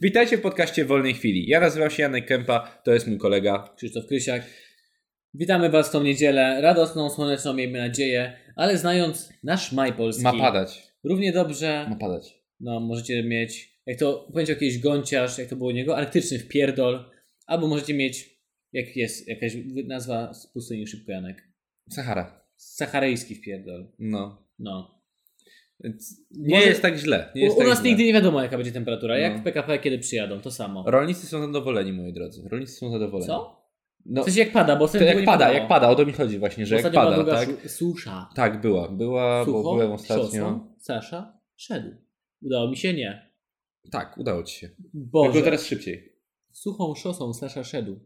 Witajcie w podcaście Wolnej Chwili. Ja nazywam się Janek Kępa, to jest mój kolega. Krzysztof Krysiak. Witamy Was w tą niedzielę, radosną, słoneczną, miejmy nadzieję, ale znając nasz maj polski, Ma padać. równie dobrze, Ma padać. no możecie mieć, jak to powiedział jakiś gąciarz, jak to było u niego, arktyczny wpierdol, albo możecie mieć, jak jest jakaś wy- nazwa z pustyni Szybko Janek, Sahara. saharyjski wpierdol, No. no. Więc Nie Może- jest tak źle. Nie jest u u tak nas źle. nigdy nie wiadomo jaka będzie temperatura, jak No. w PKP kiedy przyjadą, to samo. Rolnicy są zadowoleni, moi drodzy. Rolnicy są zadowoleni. Co? No, W sensie jak pada, bo to ostatnio tego jak nie pada, padało. jak pada, o to mi chodzi właśnie, że jak Ostatnio była pada, długa tak? szu- susza. Tak, była. Była, Sucho, bo byłem ostatnio. Szosą, Sasza szedł. Udało mi się nie. Tak, udało ci się. Boże. Tylko teraz szybciej. Suchą szosą Sasza szedł.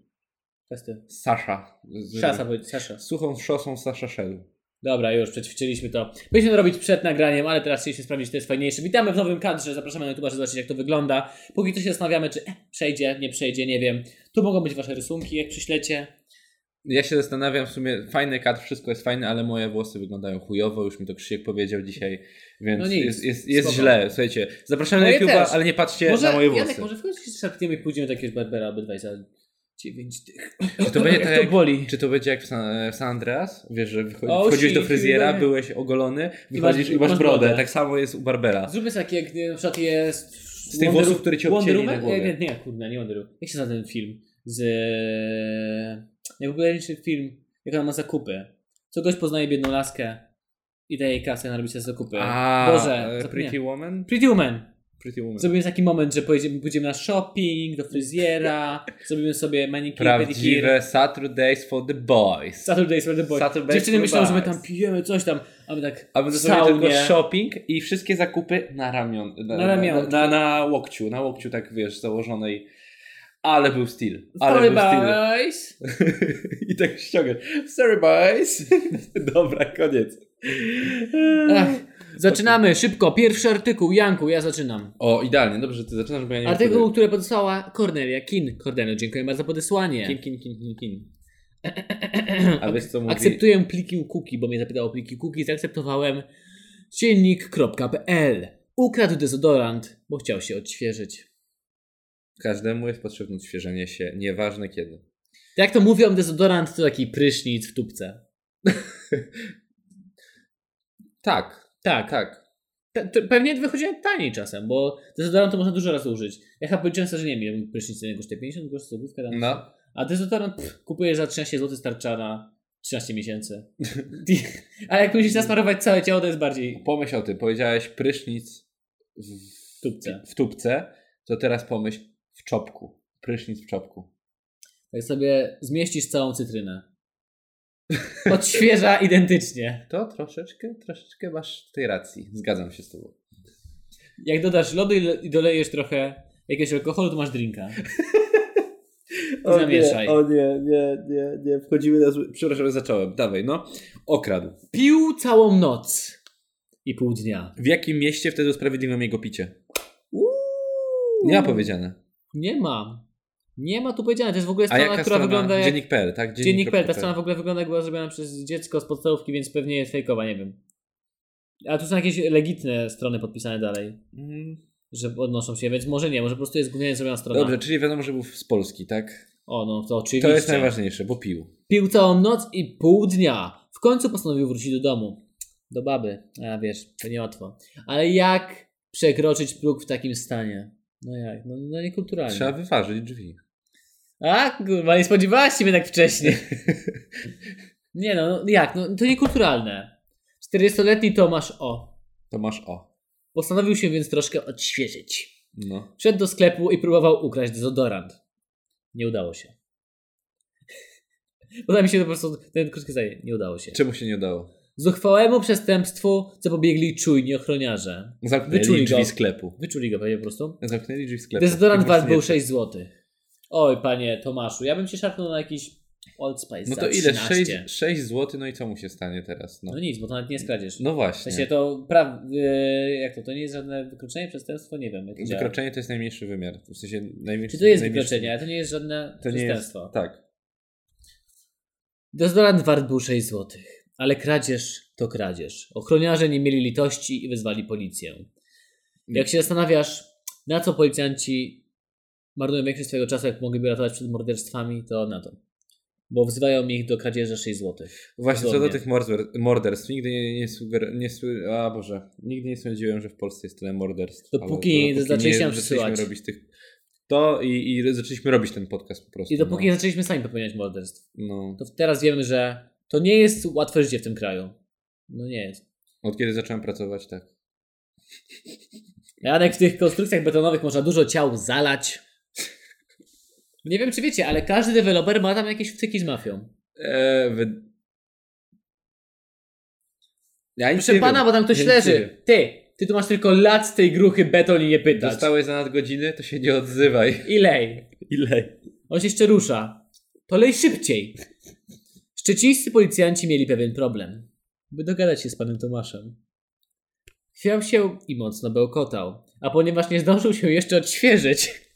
Testy. Sasza. Szasa, powiedz- Sasza. Suchą szosą Sasza szedł. Dobra, już przećwiczyliśmy to. Byliśmy to robić przed nagraniem, ale teraz chcieliśmy sprawdzić, czy to jest fajniejsze. Witamy w nowym kadrze, zapraszamy na YouTube, żeby zobaczyć, jak to wygląda. Póki co się zastanawiamy, czy e, przejdzie, nie przejdzie, nie wiem. Tu mogą być wasze rysunki, jak przyślecie. Ja się zastanawiam, w sumie fajny kadr, wszystko jest fajne, ale moje włosy wyglądają chujowo, już mi to Krzysiek powiedział dzisiaj, więc No nic, jest, jest, jest spoko. źle, słuchajcie. Zapraszamy Moje na YouTube'a, też. ale nie patrzcie Może, na moje włosy. Janek, może w końcu się szarpniemy i pójdziemy do jakiegoś Barbera obydwaj za dziewięć tych. Czy to będzie Jak tak to jak- boli? Czy to będzie jak w San, w San Andreas? Wiesz, że wycho- O, wchodziłeś do si- fryzjera, si- byłeś ogolony, I masz- wychodzisz i masz, masz brodę. brodę. Tak samo jest u Barbera. Zróbmy sobie jak, jak na przykład jest... Z tych Wonder- włosów, które ci Wonder obcięli na Woman? Nie, nie, głowie. nie, kurde, nie Wonder Woman. Jak się nazywa ten film? Z... e, Jak w ogóle liczy film, jak ona ma zakupy. Co gość poznaje biedną laskę i daje jej kasę na robić te zakupy. A, Boże, e, co- Pretty nie. Woman? Pretty Woman. Pretty Woman. Zrobimy taki moment, że pojedziemy, pójdziemy na shopping, do fryzjera, zrobimy sobie manicure, pedicure. Prawdziwe Saturdays for the boys. Saturdays for the boys. Saturdays Dziewczyny for myślą, że my boys. tam pijemy coś tam, a my tak A my w dosłownie tylko saunie. shopping i wszystkie zakupy na ramion. tak. Na, Na ramionki. Na, na, na łokciu, na łokciu tak wiesz, założonej. Ale był styl. Ale Sorry, był styl. boys. I tak ściągasz. Sorry boys. Dobra, koniec. Ach, zaczynamy szybko. Pierwszy artykuł, Janku, ja zaczynam. O, idealnie, dobrze, że ty zaczynasz, bo ja nie wiem, Artykuł, który podesłała Kornelia Kin. Kornelio, dziękuję bardzo za podesłanie. Kin, kin, kin, kin, kin. A wiesz co mówi? Akceptuję pliki cookie, bo mnie zapytało o pliki cookie. Zaakceptowałem dziennik.pl. Ukradł dezodorant, bo chciał się odświeżyć. Każdemu jest potrzebne odświeżenie się, nieważne kiedy. Jak to mówią, dezodorant to taki prysznic w tubce. Tak, Tak. tak. Pe- to pewnie wychodzi taniej czasem, bo dezodorant to można dużo razy użyć. Ja chyba powiedziałem sobie, że nie wiem, prysznic jeden kosztuje 50 groszy, złotówkę tam. No. A dezodorant pff, kupujesz za 13 zł starcza na 13 miesięcy. A jak musisz nasmarować całe ciało, to jest bardziej Pomyśl o tym, powiedziałeś prysznic w w tubce. w tubce, to teraz pomyśl w czopku. Prysznic w czopku. Jak sobie zmieścisz całą cytrynę. Odświeża identycznie. To troszeczkę, troszeczkę masz tej racji. Zgadzam się z tobą. Jak dodasz lodu i le- i dolejesz trochę jakiegoś alkoholu, to masz drinka. O nie, Zamieszaj. o nie, nie, nie, nie. Wchodzimy na zły... Przepraszam, że zacząłem. Dawaj, no. Okradł. Pił całą noc i pół dnia. W jakim mieście wtedy usprawiedliwiam jego picie? Uuu. Nie Mm. ma powiedziane. Nie ma. Nie ma tu powiedziane. To jest w ogóle A strona, jaka która strona? wygląda jak... Dziennik.pl, tak? Dziennik.pl, ta Dziennik.pl. strona w ogóle wygląda jak była zrobiona przez dziecko z podstawówki, więc pewnie jest fejkowa, nie wiem. A tu są jakieś legitne strony podpisane dalej, Mm, że odnoszą się, więc może nie, może po prostu jest głównie zrobiona strona. Dobrze, czyli wiadomo, że był z Polski, tak? O, no to oczywiście. To jest najważniejsze, bo pił. Pił całą noc i pół dnia. W końcu postanowił wrócić do domu. Do baby. A wiesz, to niełatwo. Ale jak przekroczyć próg w takim stanie? No jak? No, no niekulturalnie. Trzeba wyważyć drzwi. A, kurwa, nie spodziewałaś się mnie tak wcześnie. Nie no, no jak? No, to niekulturalne. 40-letni Tomasz O. To masz o. Postanowił się więc troszkę odświeżyć. No. Wszedł do sklepu i próbował ukraść dezodorant. Nie udało się. Uda mi się to po prostu ten krótki zdaje. Nie udało się. Czemu się nie udało? Zuchwałemu przestępstwu zapobiegli czujni ochroniarze. Zamknęli Wyczuli drzwi go. sklepu. Wyczuli go pewnie po prostu. Zamknęli drzwi sklepu. Dezodorant I wart był właśnie- 6 zł. Oj, panie Tomaszu, ja bym się szarpnął na jakiś Old Spice No za to ile? 13. 6, 6 zł, no i co mu się stanie teraz? No, No nic, bo to nawet nie jest kradzież. no w właśnie. sensie to praw... y, jak to? To nie jest żadne wykroczenie, przestępstwo? Nie wiem. Jak to działa. Wykroczenie to jest najmniejszy wymiar. W sensie najmniejszy, Czy to jest najmniejszy- wykroczenie, ale to nie jest żadne To nie jest. przestępstwo. Tak. Dezodorant wart był 6 zł, ale kradzież to kradzież. Ochroniarze nie mieli Mm. litości i wezwali policję. Jak się zastanawiasz, na co policjanci marnują większość swojego czasu, jak mogliby ratować przed morderstwami, to na to. Bo wzywają ich do kradzieży 6 zł. Właśnie co do Zgodnie. tych morder- morderstw, nigdy nie, nie, suger- nie su- a Boże, nigdy nie sądziłem, że w Polsce jest tyle morderstw. Dopóki Ale nie zaczęliście nam przysyłać. robić tych, to i, i zaczęliśmy robić ten podcast po prostu. I dopóki nie zaczęliśmy sami popełniać morderstw, No, no. to teraz wiemy, że to nie jest łatwe życie w tym kraju. No nie jest. Od kiedy zacząłem pracować, tak. Janek, w tych konstrukcjach betonowych można dużo ciał zalać. Nie wiem, czy wiecie, ale każdy deweloper ma tam jakieś wtyki z mafią. E, wy... Ja nic Proszę nie pana, wiem. bo tam ktoś Ja nic nie wiem. leży. Ty, ty tu masz tylko lat z tej gruchy beton i nie pytać. Dostałeś za nadgodziny, to się nie odzywaj. I lej. Ile? On się jeszcze rusza. To lej szybciej. Szczecińscy policjanci mieli pewien problem, by dogadać się z panem Tomaszem. Chwiał się i mocno bełkotał, a ponieważ nie zdążył się jeszcze odświeżyć, czuć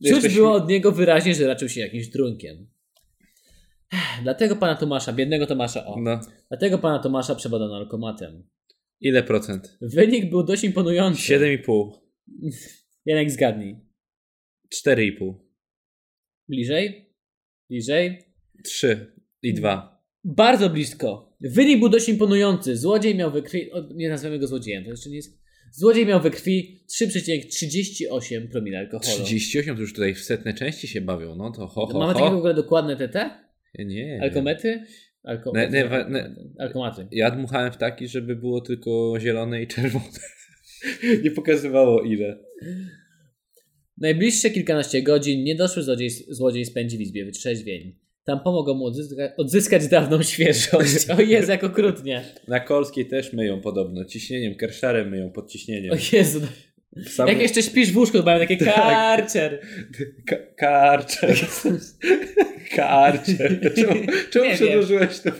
Jesteśmy- było od niego wyraźnie, że raczył się jakimś drunkiem. Ech, Dlatego pana Tomasza, biednego Tomasza, o, No. dlatego pana Tomasza przebadano alkomatem. Ile procent? Wynik był dość imponujący. 7,5. Janek zgadnij. 4,5. Bliżej? Bliżej? 3 i 2. Bardzo blisko. Wynik był dość imponujący. Złodziej miał we krwi. O, nie nazywamy go złodziejem, to jeszcze nie jest. Złodziej miał we krwi 3,38 promila alkoholu. 38 to już tutaj w setne części się bawią, no to ho, ho, Mamy takie w ho. ogóle dokładne TT? Ja Nie. Alkomety? Alko... Ne- ne- wa- ne- Alkomaty. Ja dmuchałem w taki, żeby było tylko zielone i czerwone. Nie pokazywało ile. Najbliższe kilkanaście godzin niedoszły złodziej, złodziej spędzi w izbie wytrzeźwień. Tam pomogą mu odzyska, odzyskać dawną świeżość. O Jezu, jak okrutnie. Na Kolskiej też myją podobno, ciśnieniem, kerszarem myją, pod ciśnieniem. O Jezu. Sam... Jak jeszcze śpisz w łóżku, to mają Tak. takie karczer. Ka- karczer. karczer. Czemu, czemu Nie przedłużyłeś to,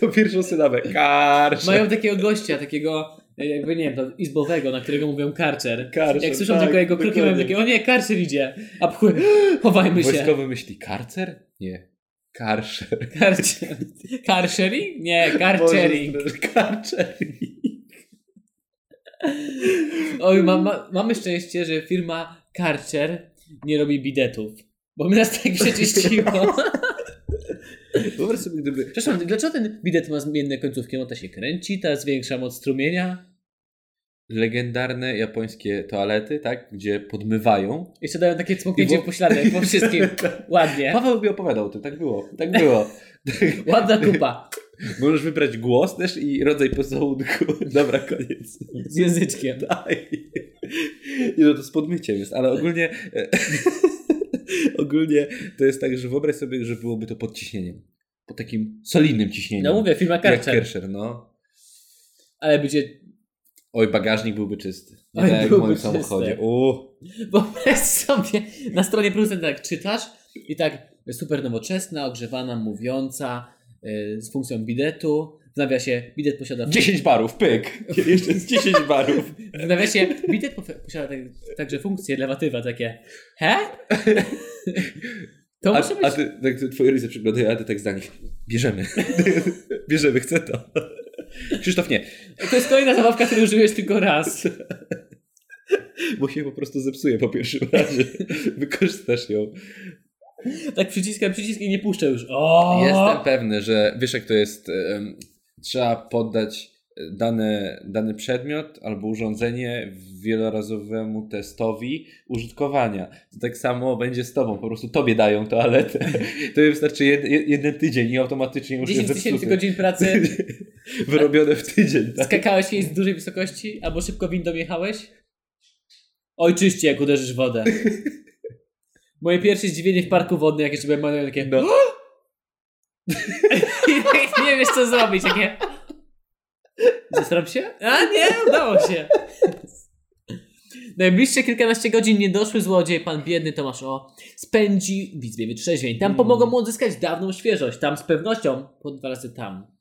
to pierwszą sylabę? Karczer. Mają takiego gościa, takiego e, jakby nie wiem, to izbowego, na którego mówią karczer. Karczer, Jak słyszą tak, tylko jego kroki, mają dokładnie. takie, o nie, karczer idzie, a pchły, chowajmy się. Wojskowy myśli, karcer? Nie. Karczer. Karczer. Karszering? Nie, karczering. Boże, Karczering. Oj, ma, ma, mamy szczęście, że firma karczer nie robi bidetów. Bo my nas tak przeczyściło. Wyobraź sobie, gdyby... Przepraszam, dlaczego ten bidet ma zmienne końcówki? No ta się kręci, ta zwiększa moc strumienia. Legendarne japońskie toalety, tak? Gdzie podmywają Jeszcze dają takie I cmoknięcie wo- w pośladek po wszystkim. Ładnie. Paweł mi opowiadał o tym, tak było, tak było. Ładna kupa. Możesz wybrać głos też i rodzaj posądku. Dobra, koniec. Z języczkiem. Daj. Nie no, to z podmyciem jest, ale ogólnie e, ogólnie to jest tak, że wyobraź sobie, że byłoby to pod ciśnieniem. Pod takim solidnym ciśnieniem. No mówię, firma Jak karczer. Kirscher, no. Ale będzie. Oj, bagażnik byłby czysty. Nie Oj, tak jak w byłby moim czysty. samochodzie. Uuu. Wyobraź sobie, na stronie producenta tak czytasz i tak super nowoczesna, ogrzewana, mówiąca, y, z funkcją bidetu. W nawiasie bidet posiada. 10 barów, pyk. Jeszcze z 10 barów. W nawiasie bidet pofe- posiada tak, także funkcje lewatywa takie. He? To A, muszę być. a ty, tak, twoje rodzice przyglądają, a ty tak zdanie. Bierzemy. Bierzemy, chcę to. Krzysztof nie. To jest kolejna zabawka, której użyłeś tylko raz. bo się po prostu zepsuje po pierwszym razie. Wykorzystasz ją. Tak przyciskam przycisk i nie puszczę już. O! Jestem pewny, że wiesz jak to jest, em, trzeba poddać dany, dany przedmiot albo urządzenie wielorazowemu testowi użytkowania. To tak samo będzie z tobie, po prostu tobie dają toaletę. To wystarczy jed, jed- jeden tydzień i automatycznie już 10 jest tysięcy zepsute. godzin pracy, Wyrobione w tydzień. Tak? skakałeś jej z dużej wysokości, albo szybko windą jechałeś? Oj, czyści, jak uderzysz w wodę. Moje pierwsze zdziwienie w parku wodnym, jak jeszcze byłem mały, takie... No. I nie wiesz, co zrobić, takie... Zastanawiam się? A nie, udało się. Najbliższe kilkanaście godzin nie doszły złodziej, pan biedny Tomasz O. Spędzi w izbie wytrzeźwień. Tam Mm. pomogą mu odzyskać dawną świeżość. Tam z pewnością, po dwa razy tam.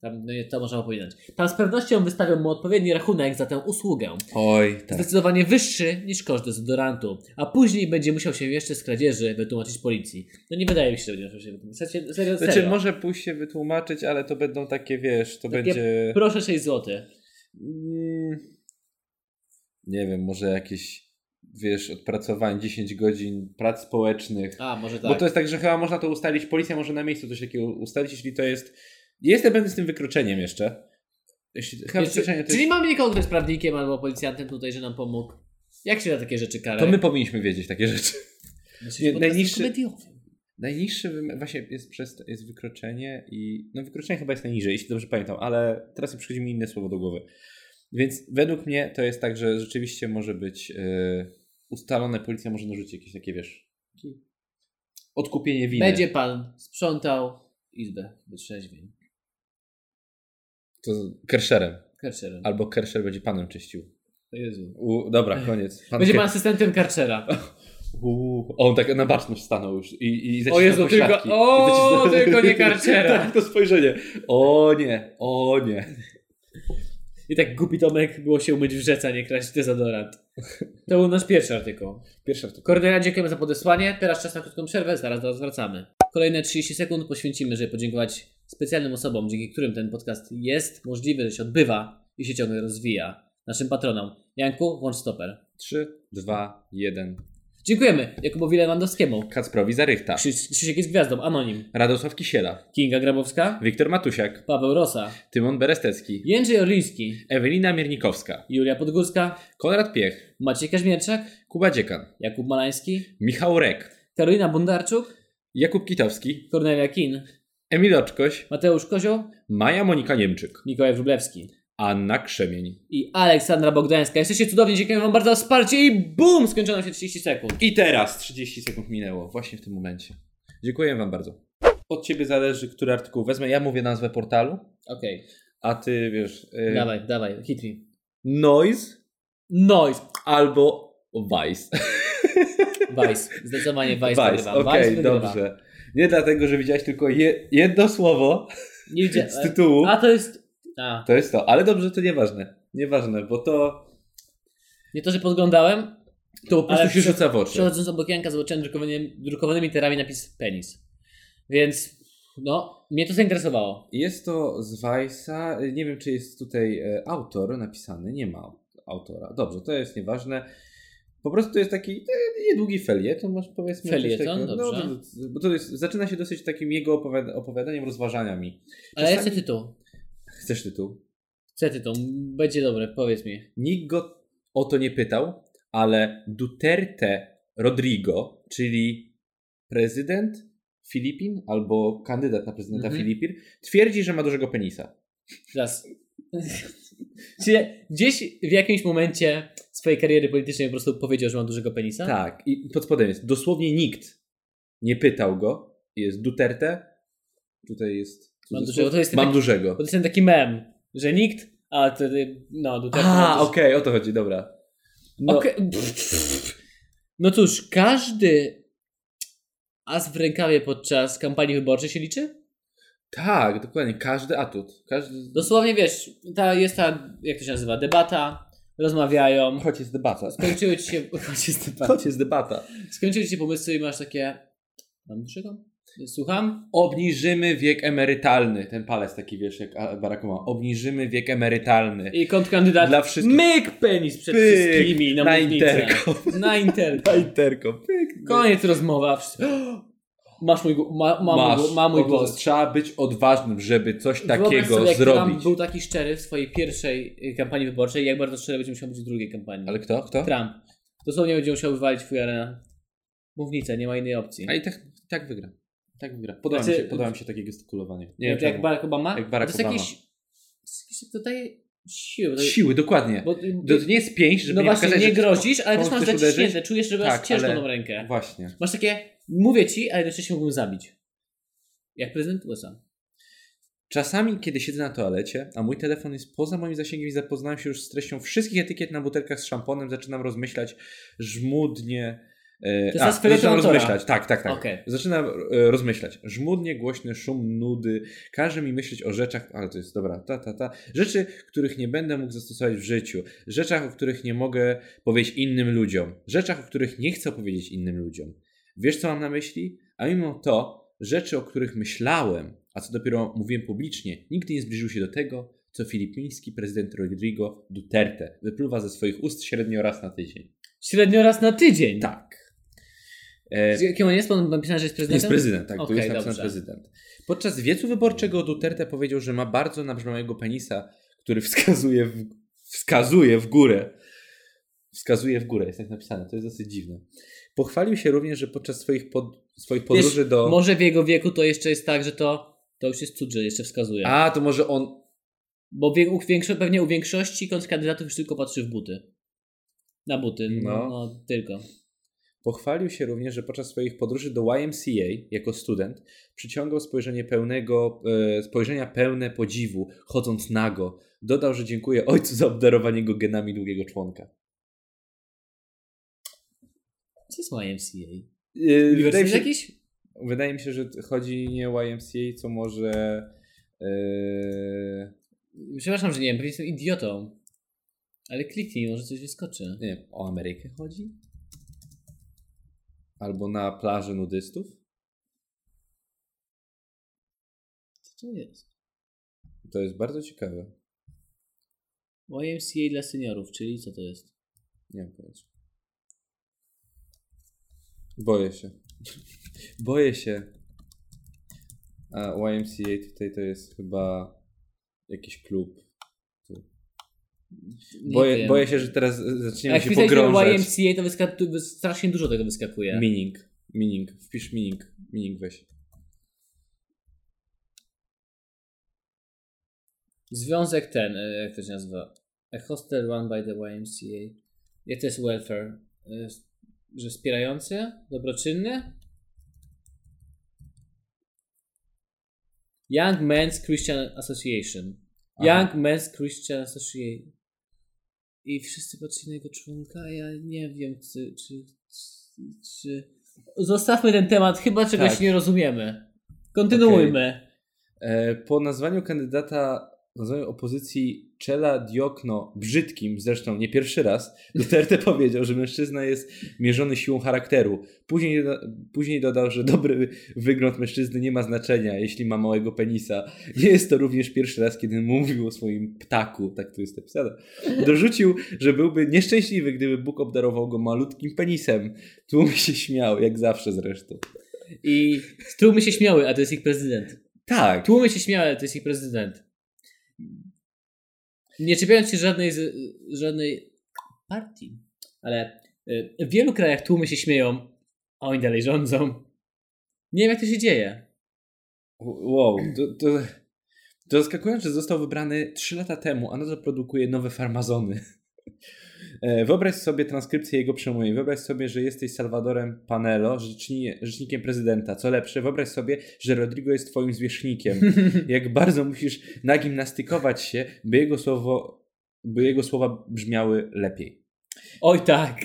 Tam, no nie, to można opowiadać. Tam z pewnością wystawią mu odpowiedni rachunek za tę usługę. Oj, tak. Zdecydowanie wyższy niż koszt dezodorantu. A później będzie musiał się jeszcze z kradzieży wytłumaczyć policji. No nie wydaje mi się, że będzie musiał się wytłumaczyć. Serio, serio. Znaczy, może pójść się wytłumaczyć, ale to będą takie, wiesz, to Takie będzie... Proszę 6 zł. Mm, Nie wiem, może jakieś wiesz, odpracowań 10 godzin prac społecznych. A, może Bo tak. to jest tak, że chyba można to ustalić, policja może na miejscu coś takiego ustalić, jeśli to jest... Jestem pewny z tym wykroczeniem jeszcze. Jeśli, chyba Jeszcze- wykroczenie to Czyli jest... mamy nikogo, kto jest prawnikiem albo policjantem tutaj, że nam pomógł. Jak się da takie rzeczy karać? To my powinniśmy wiedzieć takie rzeczy. Jesteśmy nie, podcastem najniższy- komediowym. Najniższy wym- właśnie jest, przez, jest wykroczenie i. No, wykroczenie chyba jest najniżej, jeśli dobrze pamiętam, ale teraz przychodzi mi inne słowo do głowy. Więc według mnie to jest tak, że rzeczywiście może być yy, ustalone, policja może narzucić jakieś takie, wiesz, odkupienie winy. Będzie pan sprzątał izbę wytrzeźwień. To z kerszerem. Karczerem. Albo kerszer będzie panem czyścił. Jezu. U, dobra, koniec. Pan Będzie Ker- pan asystentem karczera. U, on tak na baczność stanął już i, i zacisnął Jezu, tylko- pośladki. o, I zacisnął- tylko nie karciera. tak, to spojrzenie. O nie, o nie. I tak głupi Tomek było się umyć w rzece, a nie kraść dezodorant. To był nasz pierwszy artykuł. Pierwsza w Kornelia, dziękujemy za podesłanie. Teraz czas na krótką przerwę, zaraz do Was wracamy. Kolejne 30 sekund poświęcimy, żeby podziękować specjalnym osobom, dzięki którym ten podcast jest możliwy, się odbywa i się ciągle rozwija. Naszym patronom. Janku, włącz stoper. 3, 2, 1. Dziękujemy Jakubowi Lewandowskiemu, Kacprowi Zarychta, Krzyś- Krzysiek jest gwiazdą, Anonim, Radosław Kisiela, Kinga Grabowska, Wiktor Matusiak, Paweł Rosa, Tymon Berestecki, Jędrzej Orliński, Ewelina Miernikowska, Julia Podgórska, Konrad Piech, Maciej Kaźmierczak, Kuba Dziekan, Jakub Malański, Michał Rek, Karolina Bondarczuk, Jakub Kitowski, Kornelia Kin, Emil Oczkoś, Mateusz Kozioł, Maja Monika Niemczyk, Mikołaj Wróblewski. Anna Krzemień. i Aleksandra Bogdańska. Jesteście cudowni, dziękujemy Wam bardzo za wsparcie i BUM! Skończono się 30 sekund. I teraz 30 sekund minęło, właśnie w tym momencie. Dziękuję Wam bardzo. Od Ciebie zależy, który artykuł wezmę. Ja mówię nazwę portalu, Okej, a Ty wiesz... y, dawaj, dawaj, hit me. Noise Noise, albo Vice. Vice, zdecydowanie Vice, Vice, wygrywa. okej, Vice wygrywa. dobrze. Nie dlatego, że widziałeś tylko je, jedno słowo Nie widzia- z tytułu. A to jest... A, To jest to, ale dobrze, to nieważne. Nieważne, bo to, nie to, że podglądałem, to po prostu Ale się prze- rzuca w oczy. przechodząc obok Janka zobaczyłem drukowanymi, drukowanymi literami napis penis. Więc, no, mnie to zainteresowało. Jest to z Weissa. Nie wiem, czy jest tutaj e, autor napisany. Nie ma autora. Dobrze, to jest nieważne. Po prostu to jest taki e, niedługi felieton, masz powiedzmy. coś Felieton, takiego. dobrze. No, to- bo to jest, zaczyna się dosyć takim jego opowiada- opowiadaniem, rozważaniami. Ale ja chcę Czasami- tytuł. Chcesz tytuł? Chcę tytuł, będzie dobre, powiedz mi. Nikt go o to nie pytał, ale Duterte Rodrigo, czyli prezydent Filipin albo kandydat na prezydenta Mhm. Filipin, twierdzi, że ma dużego penisa. Zaraz. Czy gdzieś w jakimś momencie swojej kariery politycznej po prostu powiedział, że ma dużego penisa? Tak, i pod spodem jest dosłownie nikt nie pytał go. Jest Duterte. Tutaj jest. Mam cudzysłów. dużego, to jest Mam taki- dużego. Bo to jest ten taki mem, że nikt, a wtedy, no, do tego- A, no, to- okej, o to chodzi, dobra. No, Okej, pff. No cóż, każdy as w rękawie podczas kampanii wyborczej się liczy? Tak, dokładnie. Każdy atut. Każdy. Dosłownie wiesz, ta jest ta, jak to się nazywa, debata, rozmawiają, Choć jest debata. skończyły ci się, chodź, jest debata. Choć jest debata. skończyły ci się pomysły i masz takie, mam dużego? Słucham? Obniżymy wiek emerytalny. Ten palec taki wiesz, jak A- Barack Obama. Obniżymy wiek emerytalny. I kontrkandydat Dla wszystkich. Myk penis przed Pyk wszystkimi na, na mównicę. interkom. Na interkom. Pajterko. Pyk, pyk. Koniec rozmowa. Wszyscy- Masz mój, gó- ma, ma, mój gó- ma mój Oto głos. Trzeba być odważnym, żeby coś Wyobraź takiego sobie, jak Trump zrobić. był taki szczery w swojej pierwszej y, kampanii wyborczej, jak bardzo szczery będzie musiał być w drugiej kampanii. Ale kto? Kto? Trump. Dosłownie będzie musiał wywalić fujarę na mównicę, nie ma innej opcji. A i tak, tak wygra. Tak wygra. Podoba, Znaczy- mi, się, podoba mi się takie gestykulowanie. Nie jak, wiem, jak jak Barack Obama? Jak Barack to jest Obama. jakieś... To jest jakieś tutaj siły. bo to- Siły, dokładnie. Bo, To nie jest pięść, żeby no nie właśnie, pokazać, nie że- grozisz, ale też komuś masz chcesz uderzyć? zaciśnięte. Czujesz, że masz Tak, ciężką ale- tą rękę. Właśnie. Masz takie, mówię ci, a jednocześnie mógłbym zabić. Jak prezydent USA. Czasami, kiedy siedzę na toalecie, a mój telefon jest poza moim zasięgiem i zapoznałem się już z treścią wszystkich etykiet na butelkach z szamponem, zaczynam rozmyślać żmudnie. e, jest a, ta z felieton zaczynam autora. rozmyślać, tak, tak, tak. Okej. Zaczynam e, rozmyślać. Żmudnie, głośny szum nudy każe mi myśleć o rzeczach, ale to jest dobra, ta, ta, ta. Rzeczy, których nie będę mógł zastosować w życiu. Rzeczach, o których nie mogę powiedzieć innym ludziom. Rzeczach, o których nie chcę powiedzieć innym ludziom. Wiesz, co mam na myśli? A mimo to, rzeczy, o których myślałem, a co dopiero mówiłem publicznie, nigdy nie zbliżyły się do tego, co filipiński prezydent Rodrigo Duterte wypluwa ze swoich ust średnio raz na tydzień. Średnio raz na tydzień. Tak. E, Z Jakim on jest? Pan napisał, że jest prezydentem? jest prezydent, tak, tu Okej, jest napisane dobrze. prezydent. Podczas wiecu wyborczego Duterte powiedział, że ma bardzo nabrzmiałego penisa, który wskazuje w, wskazuje w górę. Wskazuje w górę, jest tak napisane, to jest dosyć dziwne. Pochwalił się również, że podczas swoich, pod, swoich podróży do... Może w jego wieku to jeszcze jest tak, że to, to już jest cud, że jeszcze wskazuje. A, to może on... Bo wie, u większo- pewnie u większości kont- kandydatów już tylko patrzy w buty. Na buty, no, No. no. tylko. Pochwalił się również, że podczas swoich podróży do Y YMCA jako student przyciągał spojrzenie pełnego, e, spojrzenia pełne podziwu, chodząc nago. Dodał, że dziękuję ojcu za obdarowanie go genami długiego członka. Co jest YMCA? Yy, wydaje, mi Uniwersytet się, jakiś? wydaje mi się, że chodzi nie o Y YMCA, co może. Yy, Przepraszam, że nie wiem, pewnie jestem idiotą. Ale kliknij, może coś wyskoczy. nie wiem, o Amerykę chodzi? Albo na plażę nudystów? Co to jest? To jest bardzo ciekawe. YMCA dla seniorów, czyli co to jest? Nie wiem powiedzieć. Boję się. Boję się. A YMCA tutaj to jest chyba jakiś klub. Nie Boję, wiem. boję się, że teraz e, A zaczniemy Jak się Y wpisaliśmy pogrążać. YMCA, to wyskakuje, wys- strasznie dużo tego wyskakuje. Meaning. Meaning. Wpisz meaning. Meaning weź. Związek ten, e, jak to się nazywa? A hostel run by the Y YMCA. Jak to jest welfare? E, s- Że wspierający? Dobroczynny? Young Men's Christian Association. Aha. Young Men's Christian Association. I wszyscy patrzyli na jego członka, a ja nie wiem, czy, czy, czy, czy... Zostawmy ten temat, chyba czegoś Tak. nie rozumiemy. Kontynuujmy. E, po nazwaniu kandydata, nazwaniu opozycji Czela Diokno brzydkim, zresztą nie pierwszy raz, Duterte powiedział, że mężczyzna jest mierzony siłą charakteru. Później, doda- później dodał, że dobry wygląd mężczyzny nie ma znaczenia, jeśli ma małego penisa. Nie jest to również pierwszy raz, kiedy mówił o swoim ptaku, tak tu jest napisane. Dorzucił, że byłby nieszczęśliwy, gdyby Bóg obdarował go malutkim penisem. Tłum się śmiał, jak zawsze zresztą. I tłumy się śmiały, a to jest ich prezydent. Tak. Tłumy się śmiały, a to jest ich prezydent. Nie czepiając się żadnej, z, żadnej partii, ale y, w wielu krajach tłumy się śmieją, a oni dalej rządzą. Nie wiem, jak to się dzieje. Wow, to, to, to zaskakujące, że został wybrany 3 lata temu, a nadal produkuje nowe farmazony. E, Wyobraź sobie transkrypcję jego przemówień. Wyobraź sobie, że jesteś Salvadorem Panelo, rzeczni- rzecznikiem prezydenta. Co lepsze, wyobraź sobie, że Rodrigo jest twoim zwierzchnikiem. Jak bardzo musisz nagimnastykować się, by jego, słowo, by jego słowa brzmiały lepiej. Oj tak.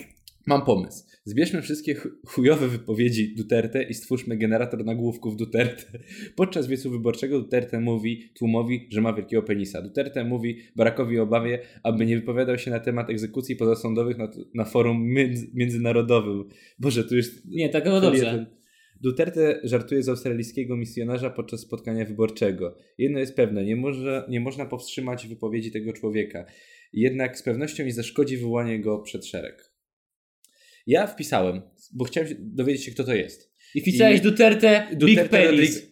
Mam pomysł. Zbierzmy wszystkie chu- chujowe wypowiedzi Duterte i stwórzmy generator nagłówków Duterte. Podczas wiecu wyborczego Duterte mówi tłumowi, że ma wielkiego penisa. Duterte mówi Barackowi Obawie, aby nie wypowiadał się na temat egzekucji pozasądowych na, na forum między, międzynarodowym. Boże, tu jest... Nie, tak no dobrze. Duterte żartuje z australijskiego misjonarza podczas spotkania wyborczego. Jedno jest pewne, nie, może, nie można powstrzymać wypowiedzi tego człowieka. Jednak z pewnością nie zaszkodzi wywołanie go przed szereg. Ja wpisałem, bo chciałem się dowiedzieć się, kto to jest. I wpisałeś I- Duterte, Big Penis. Rodrig-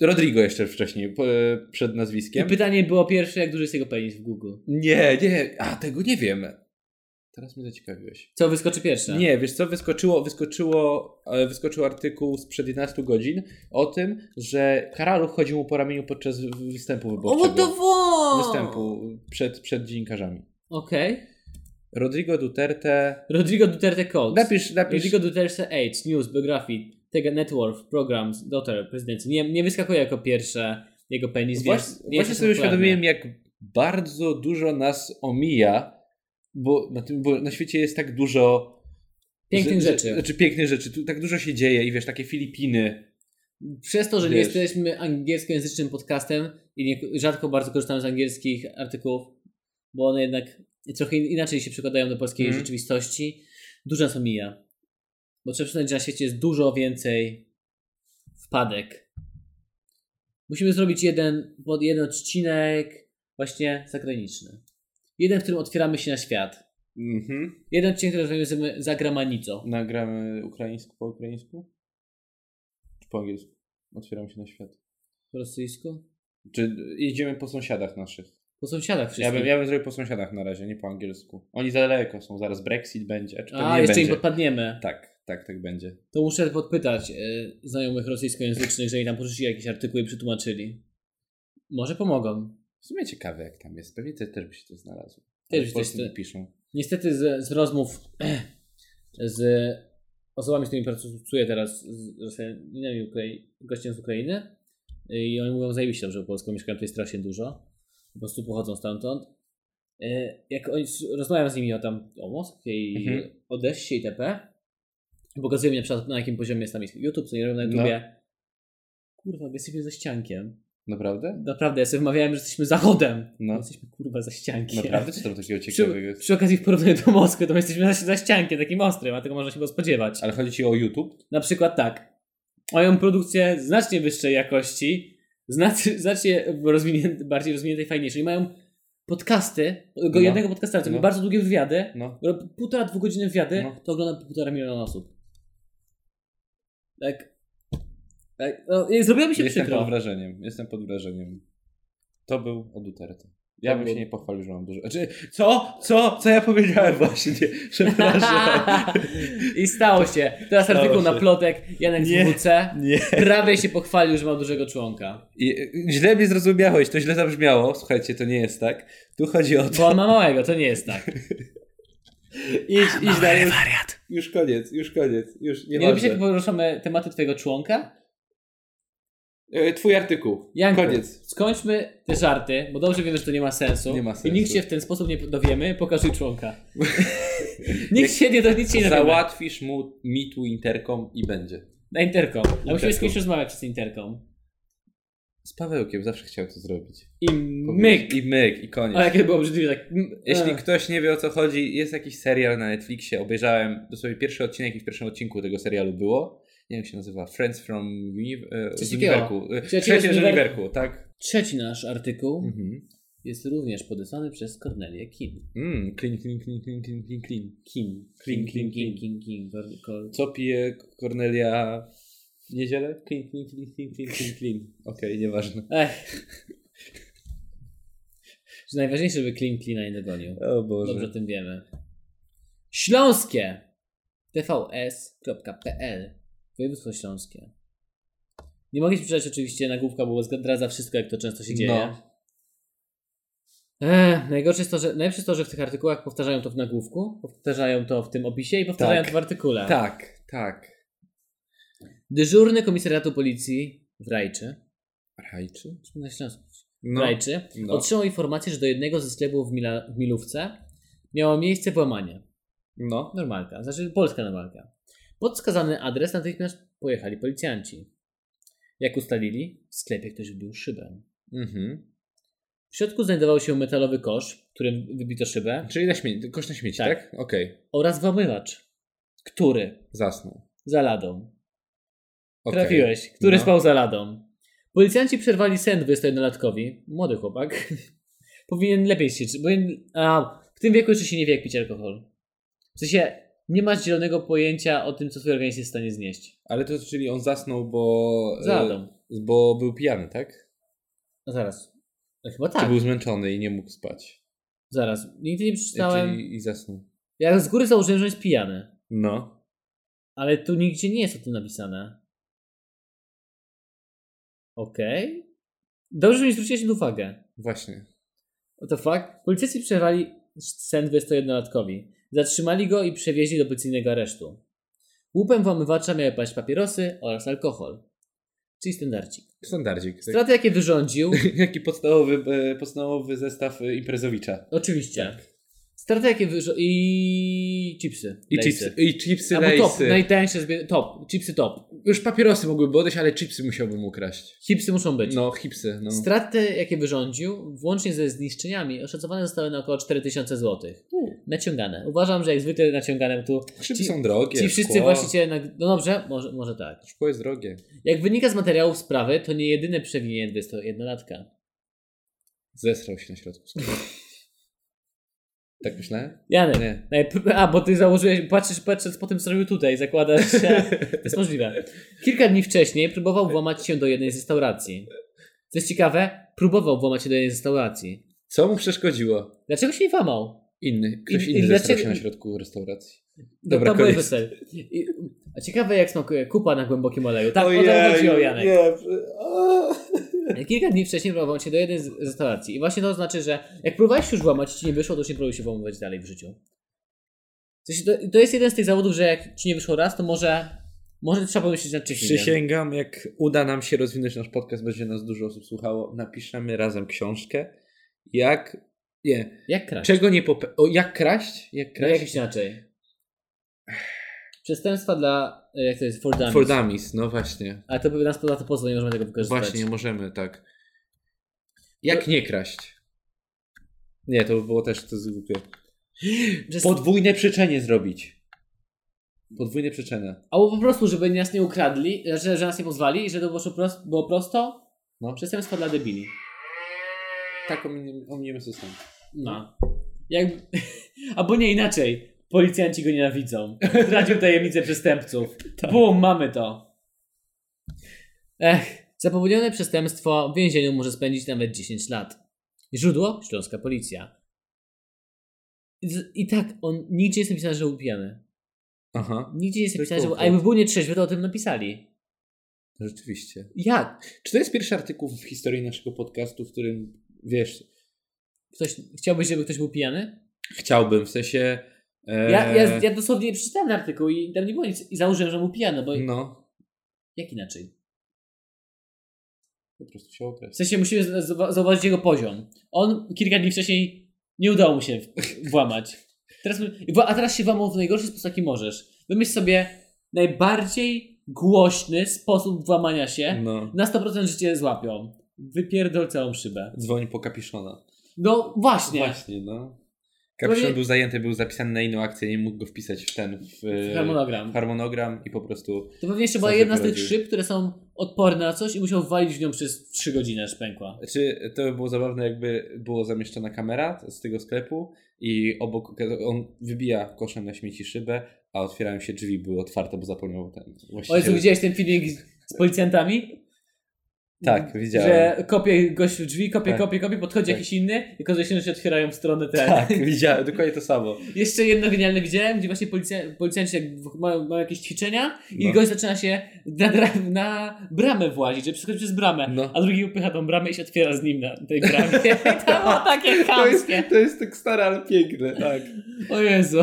Rodrigo jeszcze wcześniej, po, e, przed nazwiskiem. I pytanie było pierwsze, jak duży jest jego penis w Google. Nie, nie, a tego nie wiem. Teraz mnie zaciekawiłeś. Co wyskoczy pierwsze? Nie, wiesz co, wyskoczyło, wyskoczyło, e, wyskoczył artykuł sprzed 11 godzin o tym, że Karaluch chodził mu po ramieniu podczas wy- występu O, wyborczego. to wo! Występu przed, przed dziennikarzami. Okej. Rodrigo Duterte... Rodrigo Duterte Cox. Napisz, napisz. Rodrigo Duterte Age, News, Biography, Tega Network, Programs, Daughter, Prezydencji. Nie, nie wyskakuje jako pierwsze jego penis, Właśnie, więc nie właśnie jest sobie popularne. uświadomiłem, jak bardzo dużo nas omija, bo na, tym, bo na świecie jest tak dużo... Pięknych że- że- rzeczy. Znaczy pięknych rzeczy. Tu tak dużo się dzieje i wiesz, takie Filipiny. Przez to, że nie wiesz. jesteśmy angielskojęzycznym podcastem i nie, rzadko bardzo korzystamy z angielskich artykułów, bo one jednak trochę in- inaczej się przekładają do polskiej Mhm. rzeczywistości, dużo nas omija. Bo trzeba przyznać, że na świecie jest dużo więcej wpadek. Musimy zrobić jeden, pod- jeden odcinek właśnie zagraniczny. Jeden, w którym otwieramy się na świat. Mhm. Jeden odcinek który rozwiązujemy za gramanicą. Nagramy ukraińsku po ukraińsku? Czy po angielsku? Otwieram się na świat. Po rosyjsku? Czy jedziemy po sąsiadach naszych? Po sąsiadach Ja wszystkich. bym, ja bym zrobił po sąsiadach na razie, nie po angielsku. Oni za daleko są, zaraz Brexit będzie. Czy A, nie jeszcze będzie. im podpadniemy. Tak, tak, tak będzie. To muszę podpytać e, znajomych rosyjskojęzycznych, jeżeli tam porzucili jakieś artykuły i przetłumaczyli. Może pomogą. W sumie ciekawe jak tam jest, pewnie te, też by się to znalazło. Też Ale by się Polacy to- nie piszą. Niestety z, z rozmów z osobami, z którymi pracuję teraz, z Rosjanami, Ukrai- gościem z Ukrainy, y, i oni mówią zajebiście dobrze po polsku, mieszkają tutaj strasznie dużo, po prostu pochodzą stamtąd. E, Jak oni, s- rozmawiam z nimi o tam o Moskwie i Mhm. Odessie itp. Pokazują mi na przykład na jakim poziomie jest tam ich YouTube, co nie robią na No. YouTubie. Kurwa, my jesteśmy ze ściankiem. Naprawdę? Naprawdę, ja sobie wmawiałem, że jesteśmy zachodem. No. No. Jesteśmy kurwa za ściankiem. Naprawdę? Co tam takiego ciekawego Przy, jest? przy okazji w porównaniu do Moskwy, to my jesteśmy za, za ściankiem, takim ostrym, a tego można się było spodziewać. Ale chodzi ci o YouTube? Na przykład tak. Mają produkcję znacznie wyższej jakości, znacznie, znacznie rozwinięte, bardziej rozwiniętej, fajniejszej. Mają podcasty, go No. jednego podcasta, to No. no. bardzo długie wywiady, No. ro- półtora, dwugodzinne wywiady, No. to ogląda półtora miliona osób. Tak. tak. No, i zrobiło mi się Jestem przykro. pod wrażeniem, jestem pod wrażeniem. To był o Duterte. Ja To bym był- się nie pochwalił, że mam dużo. Znaczy, co? Co? Co ja powiedziałem właśnie? Przepraszam. I stało się. Teraz Stało artykuł na się. plotek, Janek Nie. z WC. Nie. Prawie się pochwalił, że ma dużego członka. I, y, źle mnie zrozumiałeś, to źle zabrzmiało. Słuchajcie, to nie jest tak. Tu chodzi o to. Bo on ma małego, to nie jest tak. Idź, idź dalej. wariat. Już koniec, już koniec. Już nie, Nie lubisz, jak poruszamy tematy twojego członka? E, Twój artykuł. Janku, Koniec. skończmy te żarty, bo dobrze wiemy, że to nie ma sensu. Nie ma sensu. I nikt się w ten sposób nie dowiemy. Pokażuj członka. nikt się nie do nic się nie dowiemy. Załatwisz mu mi tu interkom i będzie. Na interkom. A musimy Interkom. z kimś rozmawiać przez interkom. Z Pawełkiem zawsze chciał to zrobić. I Powiedzieć. myk. I myk, i koniec. O, jakie było obrzydliwe. Tak. mm, Jeśli e. ktoś nie wie o co chodzi, jest jakiś serial na Netflixie. Obejrzałem dosłownie pierwszy odcinek i w pierwszym odcinku tego serialu było. Nie wiem jak się nazywa. Friends from Uni- e, Coś z takiego. Uniwerku. E, Przyjaciele z Przyjaciele z Uniwerku. Uniwerku, tak? Trzeci nasz artykuł Mhm. jest również podesłany przez Cornelię Kim. Mm, clean, clean, clean, clean, clean, clean, clean. Kim. Kim, Kim, Kim, Kim, Kim. Kim, Kim, Kim. Cor- Cor- Co pije Kornelia w niedzielę? Clean, clean, clean, clean, clean, clean, clean. Okej, nieważne. Ech. Że Najważniejsze, żeby Clean Cleana nie dogonił. O Boże. Dobrze o tym wiemy. Śląskie. tvs.pl Województwo Śląskie. Nie mogę ci przeczytać oczywiście nagłówka, bo zdradza wszystko, jak to często się dzieje. No. Ech, najgorsze jest to, że, najlepsze jest to, że w tych artykułach powtarzają to w nagłówku, powtarzają to w tym opisie i powtarzają Tak. to w artykule. Tak, tak. Dyżurny komisariatu policji w Rajczy, Rajczy? czy na Śląsku, No. Rajczy no. otrzymał informację, że do jednego ze sklepów w, Mila, w Milówce miało miejsce włamanie. No. Normalka, znaczy polska normalka. Pod wskazany adres natychmiast pojechali policjanci. Jak ustalili, w sklepie ktoś wbił szybę. Mhm. W środku znajdował się metalowy kosz, którym wybito szybę, Czyli na śmieci, kosz na śmieci, tak? Tak. Okej. oraz włamywacz, który Zasnął. za ladą. Okej. Trafiłeś, który No. spał za ladą. Policjanci przerwali sen 21-latkowi. Młody chłopak. Powinien lepiej się... Bo, a, w tym wieku jeszcze się nie wie, jak pić alkohol. W sensie, nie masz zielonego pojęcia o tym, co twój organizm jest w stanie znieść. Ale to znaczy, czyli on zasnął, bo. Za ladą. e, Bo był pijany, tak? No zaraz. No chyba Czy tak. był zmęczony i nie mógł spać. Zaraz. Nigdy nie E, przeczytałem. Czyli i zasnął. Ja z góry założyłem, że jest pijany. No. Ale tu nigdzie nie jest o tym napisane. Okej. Dobrze, że mi zwróciłeś na to uwagę. Właśnie. What the fuck? Policjanci przerwali sen 21-latkowi. Zatrzymali go i przewieźli do policyjnego aresztu. Łupem włamywacza miały paść papierosy oraz alkohol. Czyli standardzik. Standardzik. Tak. Straty, jakie wyrządził, Jaki podstawowy, e, podstawowy zestaw e, imprezowicza. Oczywiście. Tak. Straty jakie wyżo... I chipsy. I Lejsy. chipsy, i chipsy Albo top, lejsy. najtańsze, zbie... top, chipsy top. Już papierosy mogłyby odejść, ale chipsy musiałbym ukraść. Chipsy muszą być. No, chipsy. No. Straty, jakie wyrządził, włącznie ze zniszczeniami, oszacowane zostały na około 4000 zł. U. Naciągane. Uważam, że jak zwykle naciągane tu Chipsy Ci- są drogie. ci wszyscy szkło. właściciele... nag- No dobrze, może, może tak. Szkło jest drogie. Jak wynika z materiałów sprawy, to nie jedyne przewinienie 21-latka. Zesrał się na środku. sklepu. Tak myślałem? Janek, Nie. najp- a bo ty założyłeś, patrzysz, patrzysz po tym, co robił tutaj, zakładasz, że to jest możliwe. Kilka dni wcześniej próbował włamać się do jednej z restauracji. Co jest ciekawe, próbował włamać się do jednej z restauracji. Co mu przeszkodziło? Dlaczego się nie włamał? Inny. Ktoś I- i inny zastrał dlaczego- się na środku restauracji. No, Dobra, to były koniec. wesel. I- A ciekawe jak smakuje kupa na głębokim oleju. Tak, o to chodzi o Janek. Nie. Kilka dni wcześniej próbowałem się do jednej z restauracji. I właśnie to znaczy, że jak próbowałeś już włamać, ci nie wyszło, to już nie próbuj się włamywać dalej w życiu. W sensie to, to jest jeden z tych zawodów, że jak ci nie wyszło raz, to może, może trzeba pomyśleć nad czymś innym. Przysięgam, jak uda nam się rozwinąć nasz podcast, będzie nas dużo osób słuchało, napiszemy razem książkę, jak... Nie. Jak kraść? Czego nie pope... O, jak kraść? Jak No, kraść? jakoś inaczej. Przestępstwa dla, e, jak to jest, for dummies. For dummies, no właśnie. Ale to by nas na to pozwól, nie możemy tego wykorzystać. Właśnie, nie możemy, tak. Jak nie kraść? Nie, to by było też to jest głupie. Przez... Podwójne przyczenie zrobić. Podwójne przyczenie. Albo po prostu, żeby nas nie ukradli, że, że nas nie pozwali i żeby to było, prost, było prosto, No. przestępstwa dla debili. Tak ominiemy, ominiemy system. No. Jak... Albo nie inaczej. Policjanci go nienawidzą. Zdradził tajemnicę przestępców. Bum, mamy to. Ech, za popełnione przestępstwo w więzieniu może spędzić nawet 10 lat. Źródło? Śląska policja. I z- I tak, on nigdzie jest napisane, że był pijany. Aha, Nigdzie jest To napisane, że był... kurde. A jakby był nietrzeźwy, to o tym napisali. rzeczywiście. Jak? Czy to jest pierwszy artykuł w historii naszego podcastu, w którym, wiesz, Ktoś... Chciałbyś, żeby ktoś był pijany? Eee. chciałbym, w sensie... E, Ja, ja, ja dosłownie przeczytałem ten artykuł i tam nie było nic. I założyłem, że był pijany, bo No, jak inaczej? po prostu się okres. W sensie musimy z- zauwa- zauważyć jego poziom. On kilka dni wcześniej nie udało mu się w- włamać. Teraz, mu- wa- a teraz się włamał w najgorszy sposób, jaki możesz. Wymyśl sobie najbardziej głośny sposób włamania się. No. Na 100% życie złapią. Wypierdol całą szybę. Dzwoń po Kapiszona. No właśnie. Właśnie, no. Kapiszon nie- był zajęty, był zapisany na inną akcję, nie mógł go wpisać w ten, w, e, Harmonogram. w harmonogram i po prostu... To pewnie jeszcze Co była się jedna z tych poradził? szyb, które są odporne na coś i musiał walić w nią przez 3 godziny, aż pękła. Czy to by było zabawne, jakby było zamieszczona kamera z tego sklepu i obok on wybija koszem na śmieci szybę, a otwierają się drzwi, były otwarte, bo zapomniał ten O Jezu, właściciel. widziałeś ten filmik z- z policjantami? Tak, widziałem. Że kopie gość w drzwi, kopie, Tak. kopie, kopie, podchodzi Tak. jakiś inny i okazuje się, że się otwierają w stronę ten. Tak, widziałem, dokładnie to samo. Jeszcze jedno genialne widziałem, gdzie właśnie policja, policjanci jak w- mają, mają jakieś ćwiczenia i No. gość zaczyna się na, dra- na bramę włazić, że przechodzi przez bramę, No. a drugi upycha tą bramę i się otwiera z nim na tej bramie. to było takie chamskie. to jest tak stare, ale piękne, tak. O Jezu.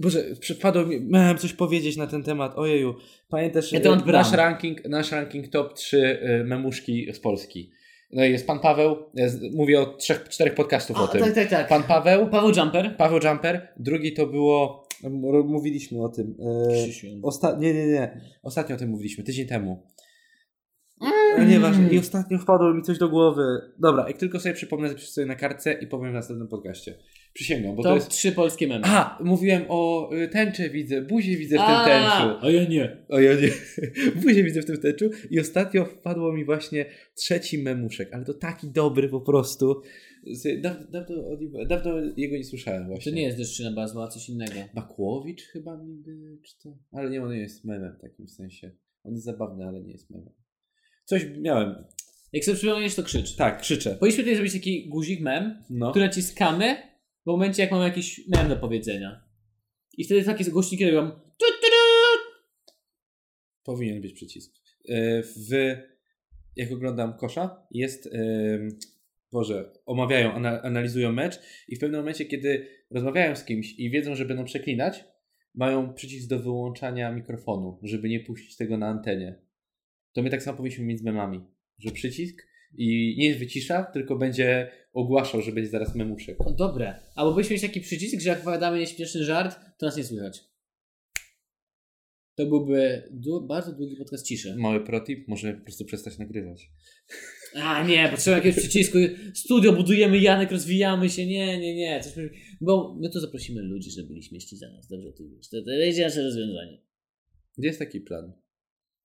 Boże, przypadło mi, miałem coś powiedzieć na ten temat, ojeju. Pamiętasz, Ja to e, odbram. nasz ranking, nasz ranking top 3 e, memuszki z Polski. No i jest pan Paweł, ja z- mówię o trzech, czterech podcastów o A, tym. tak, tak, tak. Pan Paweł, Paweł Jumper. Paweł Jumper, drugi to było. m- Mówiliśmy o tym. E, Krzysiu. osta- nie, nie, nie. Ostatnio o tym mówiliśmy, tydzień temu. Mm. Nieważne. I ostatnio wpadło mi coś do głowy. Dobra, jak tylko sobie przypomnę, zapiszę sobie na kartce i powiem w następnym podcaście. Przysięgam, bo to, To jest. trzy polskie memy. A, mówiłem o y, tęczy widzę, buzie widzę w A, tym tęczu. A ja nie. O ja nie. Buzie widzę w tym tęczu. I ostatnio wpadło mi właśnie trzeci memuszek, ale to taki dobry po prostu. Z- Daw, dawno, o nim- dawno jego nie słyszałem To właśnie. nie jest deszczyna bazła, a coś innego. Bakłowicz chyba niby, czy to? Ale nie, on nie jest memem w takim sensie. On jest zabawny, ale nie jest memem. Coś miałem. Jak sobie przypomniesz, to krzycz. Tak, krzyczę. Powinniśmy tutaj zrobić taki guzik mem, No. który naciskamy w momencie, jak mamy jakiś mem do powiedzenia. I wtedy takie głośniki robią tu, tu, tu. Powinien być przycisk. E, W, jak oglądam kosza, jest, em, Boże, omawiają, ana, analizują mecz i w pewnym momencie, kiedy rozmawiają z kimś i wiedzą, że będą przeklinać, mają przycisk do wyłączania mikrofonu, żeby nie puścić tego na antenie. To my tak samo powinniśmy mieć z memami, że przycisk i nie wycisza, tylko będzie ogłaszał, że będzie zaraz memuszek. O, dobre. Albo byśmy mieć taki przycisk, że jak opowiadamy nieśmieszny żart, to nas nie słychać. To byłby du- bardzo długi podcast ciszy. Mały protip, możemy po prostu przestać nagrywać. A nie, potrzeba jakiegoś przycisku. Studio budujemy, Janek, rozwijamy się. Nie, nie, nie. Coś my... Bo my tu zaprosimy ludzi, żeby byli śmieszni za nas. Dobrze o tym wiesz. To, to będzie nasze rozwiązanie. Gdzie jest taki plan?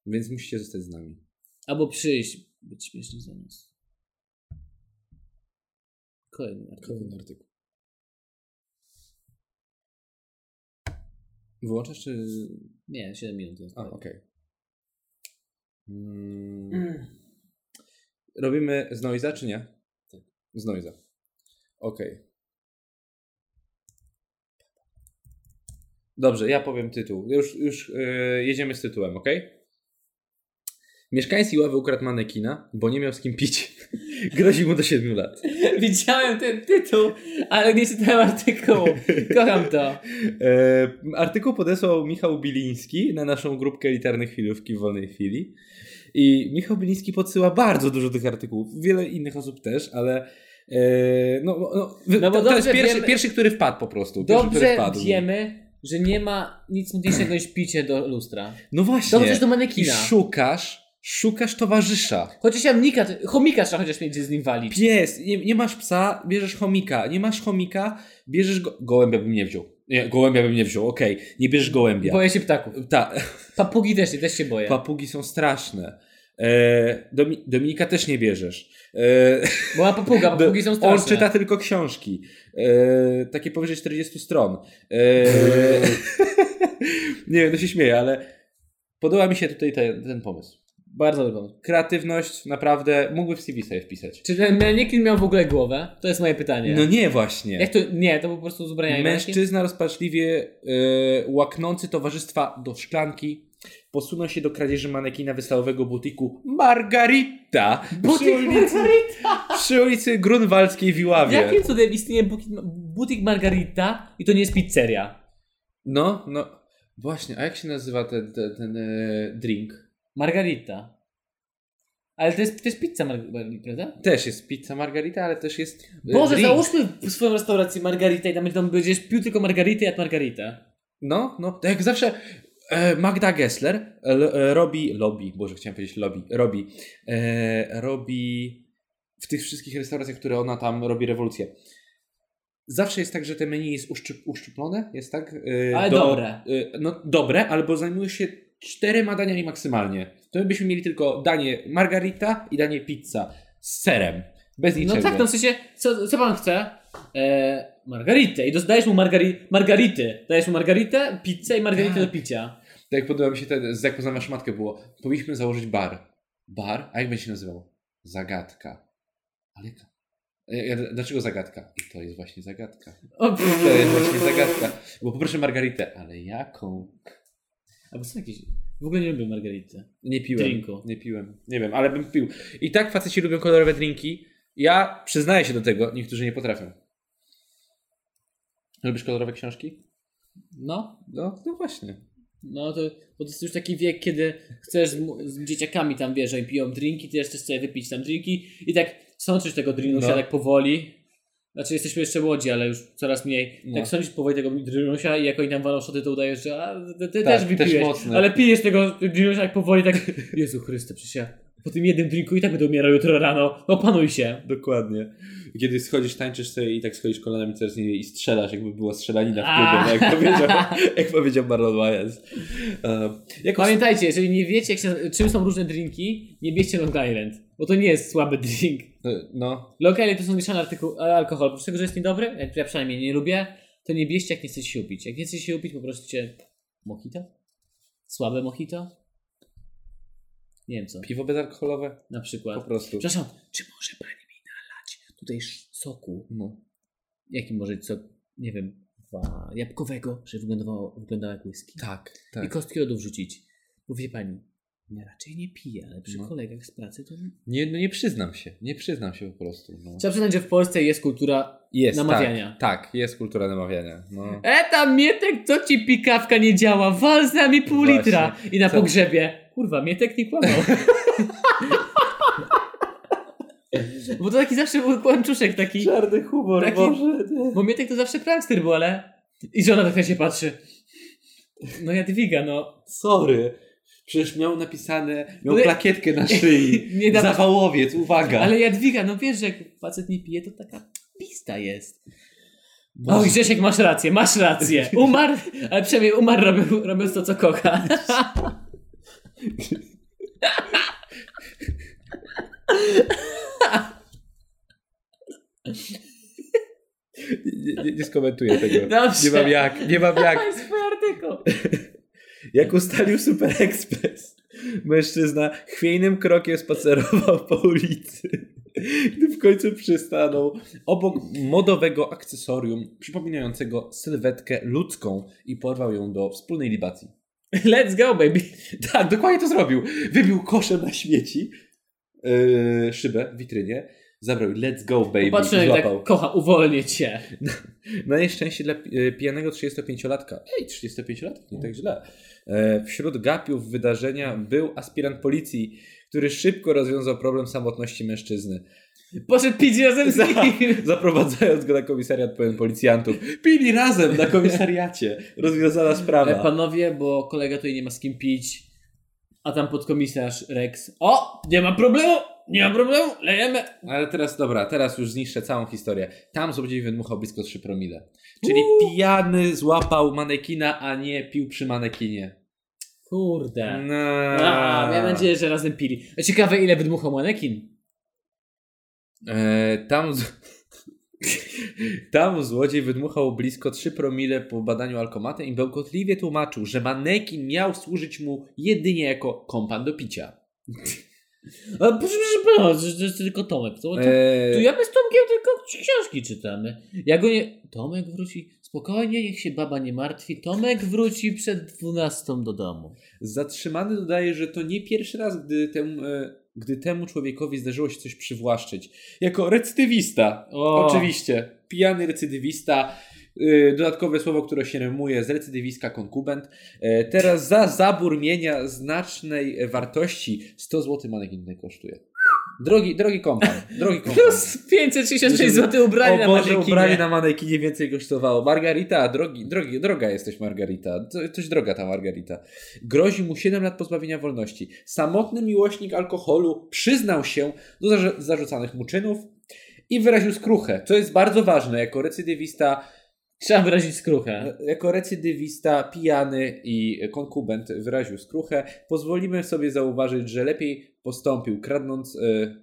Więc musicie zostać z nami. Albo przyjść, być śmieszny za nas. Kolejny artykuł. Kolejny artykuł. Wyłączasz czy... Nie, 7 minut. to jest A, fajnie. okej. Mm. Robimy z Noiza, czy nie? Tak. Z Noiza. Okej. Dobrze, ja powiem tytuł. Już, już yy, jedziemy z tytułem, okej? Mieszkańcy Ławy ukradł manekina, bo nie miał z kim pić. Grozi mu do 7 lat. Widziałem ten tytuł, ale nie czytałem artykułu. Kocham to. E, artykuł podesłał Michał Biliński na naszą grupkę Liternych Chwilówki w Wolnej Chwili. I Michał Biliński podsyła bardzo dużo tych artykułów. Wiele innych osób też, ale e, no, no, wy- No bo to, to jest dobrze pierwszy, wiemy- pierwszy, który wpadł po prostu. Pierwszy, który Dobrze wpadł. wiemy, że nie ma nic mniejszego niż picie do lustra. No właśnie. Dobrze, że do I manekina. szukasz, szukasz towarzysza. Chociaż jamnika, chomika trzeba chociaż mieć gdzie z nim walić. Pies, nie, nie masz psa, bierzesz chomika. Nie masz chomika, bierzesz go... Gołębia bym nie wziął. Nie, gołębia bym nie wziął, okej. Nie bierzesz gołębia. Boję się ptaków. Ta, Papugi też, też się boję. Papugi są straszne. E, Domi- Dominika też nie bierzesz. E, Bo ma papuga, papugi są straszne. On czyta tylko książki. E, takie powyżej 40 stron. E, nie wiem, no się śmieję, ale podoba mi się tutaj ten, ten pomysł. Bardzo dobrą. Kreatywność naprawdę mógłby w CV sobie wpisać. Czy ten manekin miał w ogóle głowę? To jest moje pytanie. No nie właśnie. Jak to? Nie, to był po prostu z ubrania. Mężczyzna rozpaczliwie e, łaknący towarzystwa do szklanki posunął się do kradzieży manekina wystawowego butiku Margarita przy Butik ulicy, Margarita! przy ulicy Grunwaldzkiej w Iławie. Jakim cudem istnieje buki- butik Margarita i to nie jest pizzeria? No, no. Właśnie, a jak się nazywa ten, ten, ten e, drink? Margarita. Ale to jest, to jest pizza Margarita, prawda? Też jest pizza Margarita, ale też jest e, Boże, drink. załóżmy w swoją restaurację Margarita i tam będziesz- tam będziesz pił tylko Margarita i jadł Margarita. No, no. To jak zawsze e, Magda Gessler l, e, robi, lobby, boże chciałem powiedzieć lobby, robi, e, robi w tych wszystkich restauracjach, które ona tam robi rewolucję. Zawsze jest tak, że te menu jest uszczy, uszczuplone, jest tak? e, Ale do- dobre. e, no dobre, albo zajmuje się czterema daniami maksymalnie. To my byśmy mieli tylko danie margarita i danie pizza z serem. Bez niczego. No tak, no w sensie, co, co pan chce? E, margaritę. I dos- dajesz mu margari- margarity. Dajesz mu margaritę, pizzę i margaritę Tak. do picia. Tak jak podoba mi się ten, z jak poznałem szmatkę było, powinniśmy założyć bar. Bar? A jak będzie się nazywał? Zagadka. Ale jaka? E, e, Dlaczego zagadka? I to jest właśnie zagadka. O, pff. To jest właśnie zagadka. Bo poproszę Margaritę. Ale jaką? Albo są jakieś... W ogóle nie lubię margarity. Nie piłem. Drinku. Nie piłem. Nie wiem, ale bym pił. I tak faceci lubią kolorowe drinki. Ja przyznaję się do tego, niektórzy nie potrafią. Lubisz kolorowe książki? No, No, no właśnie. no to, bo to jest już taki wiek, kiedy chcesz z, mu- z dzieciakami tam, wiesz, oni piją drinki, ty też chcesz sobie wypić tam drinki i tak sączysz tego drinkusia No. tak powoli. Znaczy jesteśmy jeszcze młodzi, ale już coraz mniej. No. Tak sądzisz powoli tego drinkusia i jak oni tam walą szoty, to udajesz, że a, ty, ty Tak, też też wypiłeś. mocne. ale pijesz tego drinkusia tak powoli, tak Jezu Chryste, przecież ja po tym jednym drinku i tak będę umierał jutro rano. Opanuj się. Dokładnie. Kiedy schodzisz, tańczysz sobie i tak schodzisz kolanami coraz niżej i strzelasz, jakby była strzelanina w A. klubie, no jak powiedział, jak powiedział Marlon Wayans. Um, jako Pamiętajcie, jeżeli nie wiecie, jak się, czym są różne drinki, nie bierzcie Long Island, bo to nie jest słaby drink. No, Lokale to są mieszane artyku- alkohol. Oprócz tego, że jest niedobry, jak ja przynajmniej nie lubię, to nie bierzcie, jak nie chcecie się upić. Jak nie chcecie się upić, po prostu cię... Mojito? Słabe mojito? Nie wiem co. piwo bezalkoholowe Na po przykład. prostu. Przepraszam, czy może pani mi nalać tutaj sz- soku? No. Jaki może sok? Nie wiem. Dwa. Jabłkowego, żeby wyglądało, wyglądało jak whisky. Tak, I tak. kostki lodu wrzucić. Bo wie pani, ja raczej nie piję, ale przy No. kolegach z pracy to... Nie, no nie przyznam się, nie przyznam się po prostu. No. Trzeba przyznać, że w Polsce jest kultura Jest, namawiania. Tak, tak, jest kultura namawiania. No. E tam Mietek, co ci pikawka nie działa? Wal z nami pół Właśnie. litra. I na Co- pogrzebie. Kurwa, Mietek nie kłamał. bo to taki zawsze był kłamczuszek taki. Czarny humor, Taki- Boże. Bo Mietek to zawsze prankster był, ale... I żona tak na się patrzy. No Jadwiga, no. Sorry. Przecież miał napisane, miał Ale- plakietkę na szyi. Nie dam... Zawałowiec, uwaga. Ale Jadwiga, no wiesz, że jak facet nie pije, to taka pista jest. No. Oj, Grzesiek, masz rację, masz rację. Umarł, ale przynajmniej umarł robił- robiąc to, co kocha. Nie, nie, nie skomentuję tego. Dobrze. Nie mam jak, nie mam jak. Tak. To jest twój artykuł. Jak ustalił Super Express, mężczyzna chwiejnym krokiem spacerował po ulicy, gdy w końcu przystanął obok modowego akcesorium przypominającego sylwetkę ludzką i porwał ją do wspólnej libacji. Let's go, baby. Tak, dokładnie to zrobił. Wybił koszem na śmieci yy, szybę w witrynie, zabrał i let's go baby Patrzę, i jak złapał. tak kocha, uwolnię cię. Na nieszczęście dla pi- e, pijanego 35-latka. Ej, 35-latek, nie tak źle. E, Wśród gapiów wydarzenia był aspirant policji, który szybko rozwiązał problem samotności mężczyzny, Poszedł pić razem z Za- nim. zaprowadzając go na komisariat pełen policjantów. Pili razem na komisariacie. Rozwiązana E, sprawa. Panowie, bo kolega tutaj nie ma z kim pić, a tam podkomisarz Rex. O, nie ma problemu, nie ma problemu, lejemy. Ale teraz, dobra, teraz już zniszczę całą historię. Tam złodziej wydmuchał blisko 3 promile. Czyli Uuu. pijany złapał manekina, a nie pił przy manekinie. Kurde. No. A, miałem nadzieję, że razem pili. A Ciekawe, ile wydmuchał manekin. E, tam, z... tam złodziej wydmuchał blisko 3 promile po badaniu alkomatem i bełkotliwie tłumaczył, że manekin miał służyć mu jedynie jako kompan do picia. A, proszę, proszę pana, że to jest tylko Tomek. No To, to, E, tu ja bez Tomkiem tylko książki czytamy. Ja go nie... Tomek wróci... Spokojnie, niech się baba nie martwi. Tomek wróci przed dwunastą do domu. Zatrzymany dodaje, że to nie pierwszy raz, gdy temu, e, gdy temu człowiekowi zdarzyło się coś przywłaszczyć. Jako recydywista, O. oczywiście, pijany recydywista. e, Dodatkowe słowo, które się rymuje z recydywiska konkubent. E, Teraz za zabór mienia znacznej wartości 100 zł manekin kosztuje. Drogi, drogi kompan, drogi kompan. Plus 566 zł ubranie na O Boże, manekinie. ubranie na manekinie więcej kosztowało. Margarita, drogi, drogi, droga jesteś Margarita. Co- Coś droga ta Margarita. Grozi mu 7 lat pozbawienia wolności. Samotny miłośnik alkoholu przyznał się do zarzu- zarzucanych mu czynów i wyraził skruchę, co jest bardzo ważne jako recydywista, Trzeba wyrazić skruchę. jako recydywista pijany i konkubent wyraził skruchę. Pozwolimy sobie zauważyć, że lepiej postąpił kradnąc, e,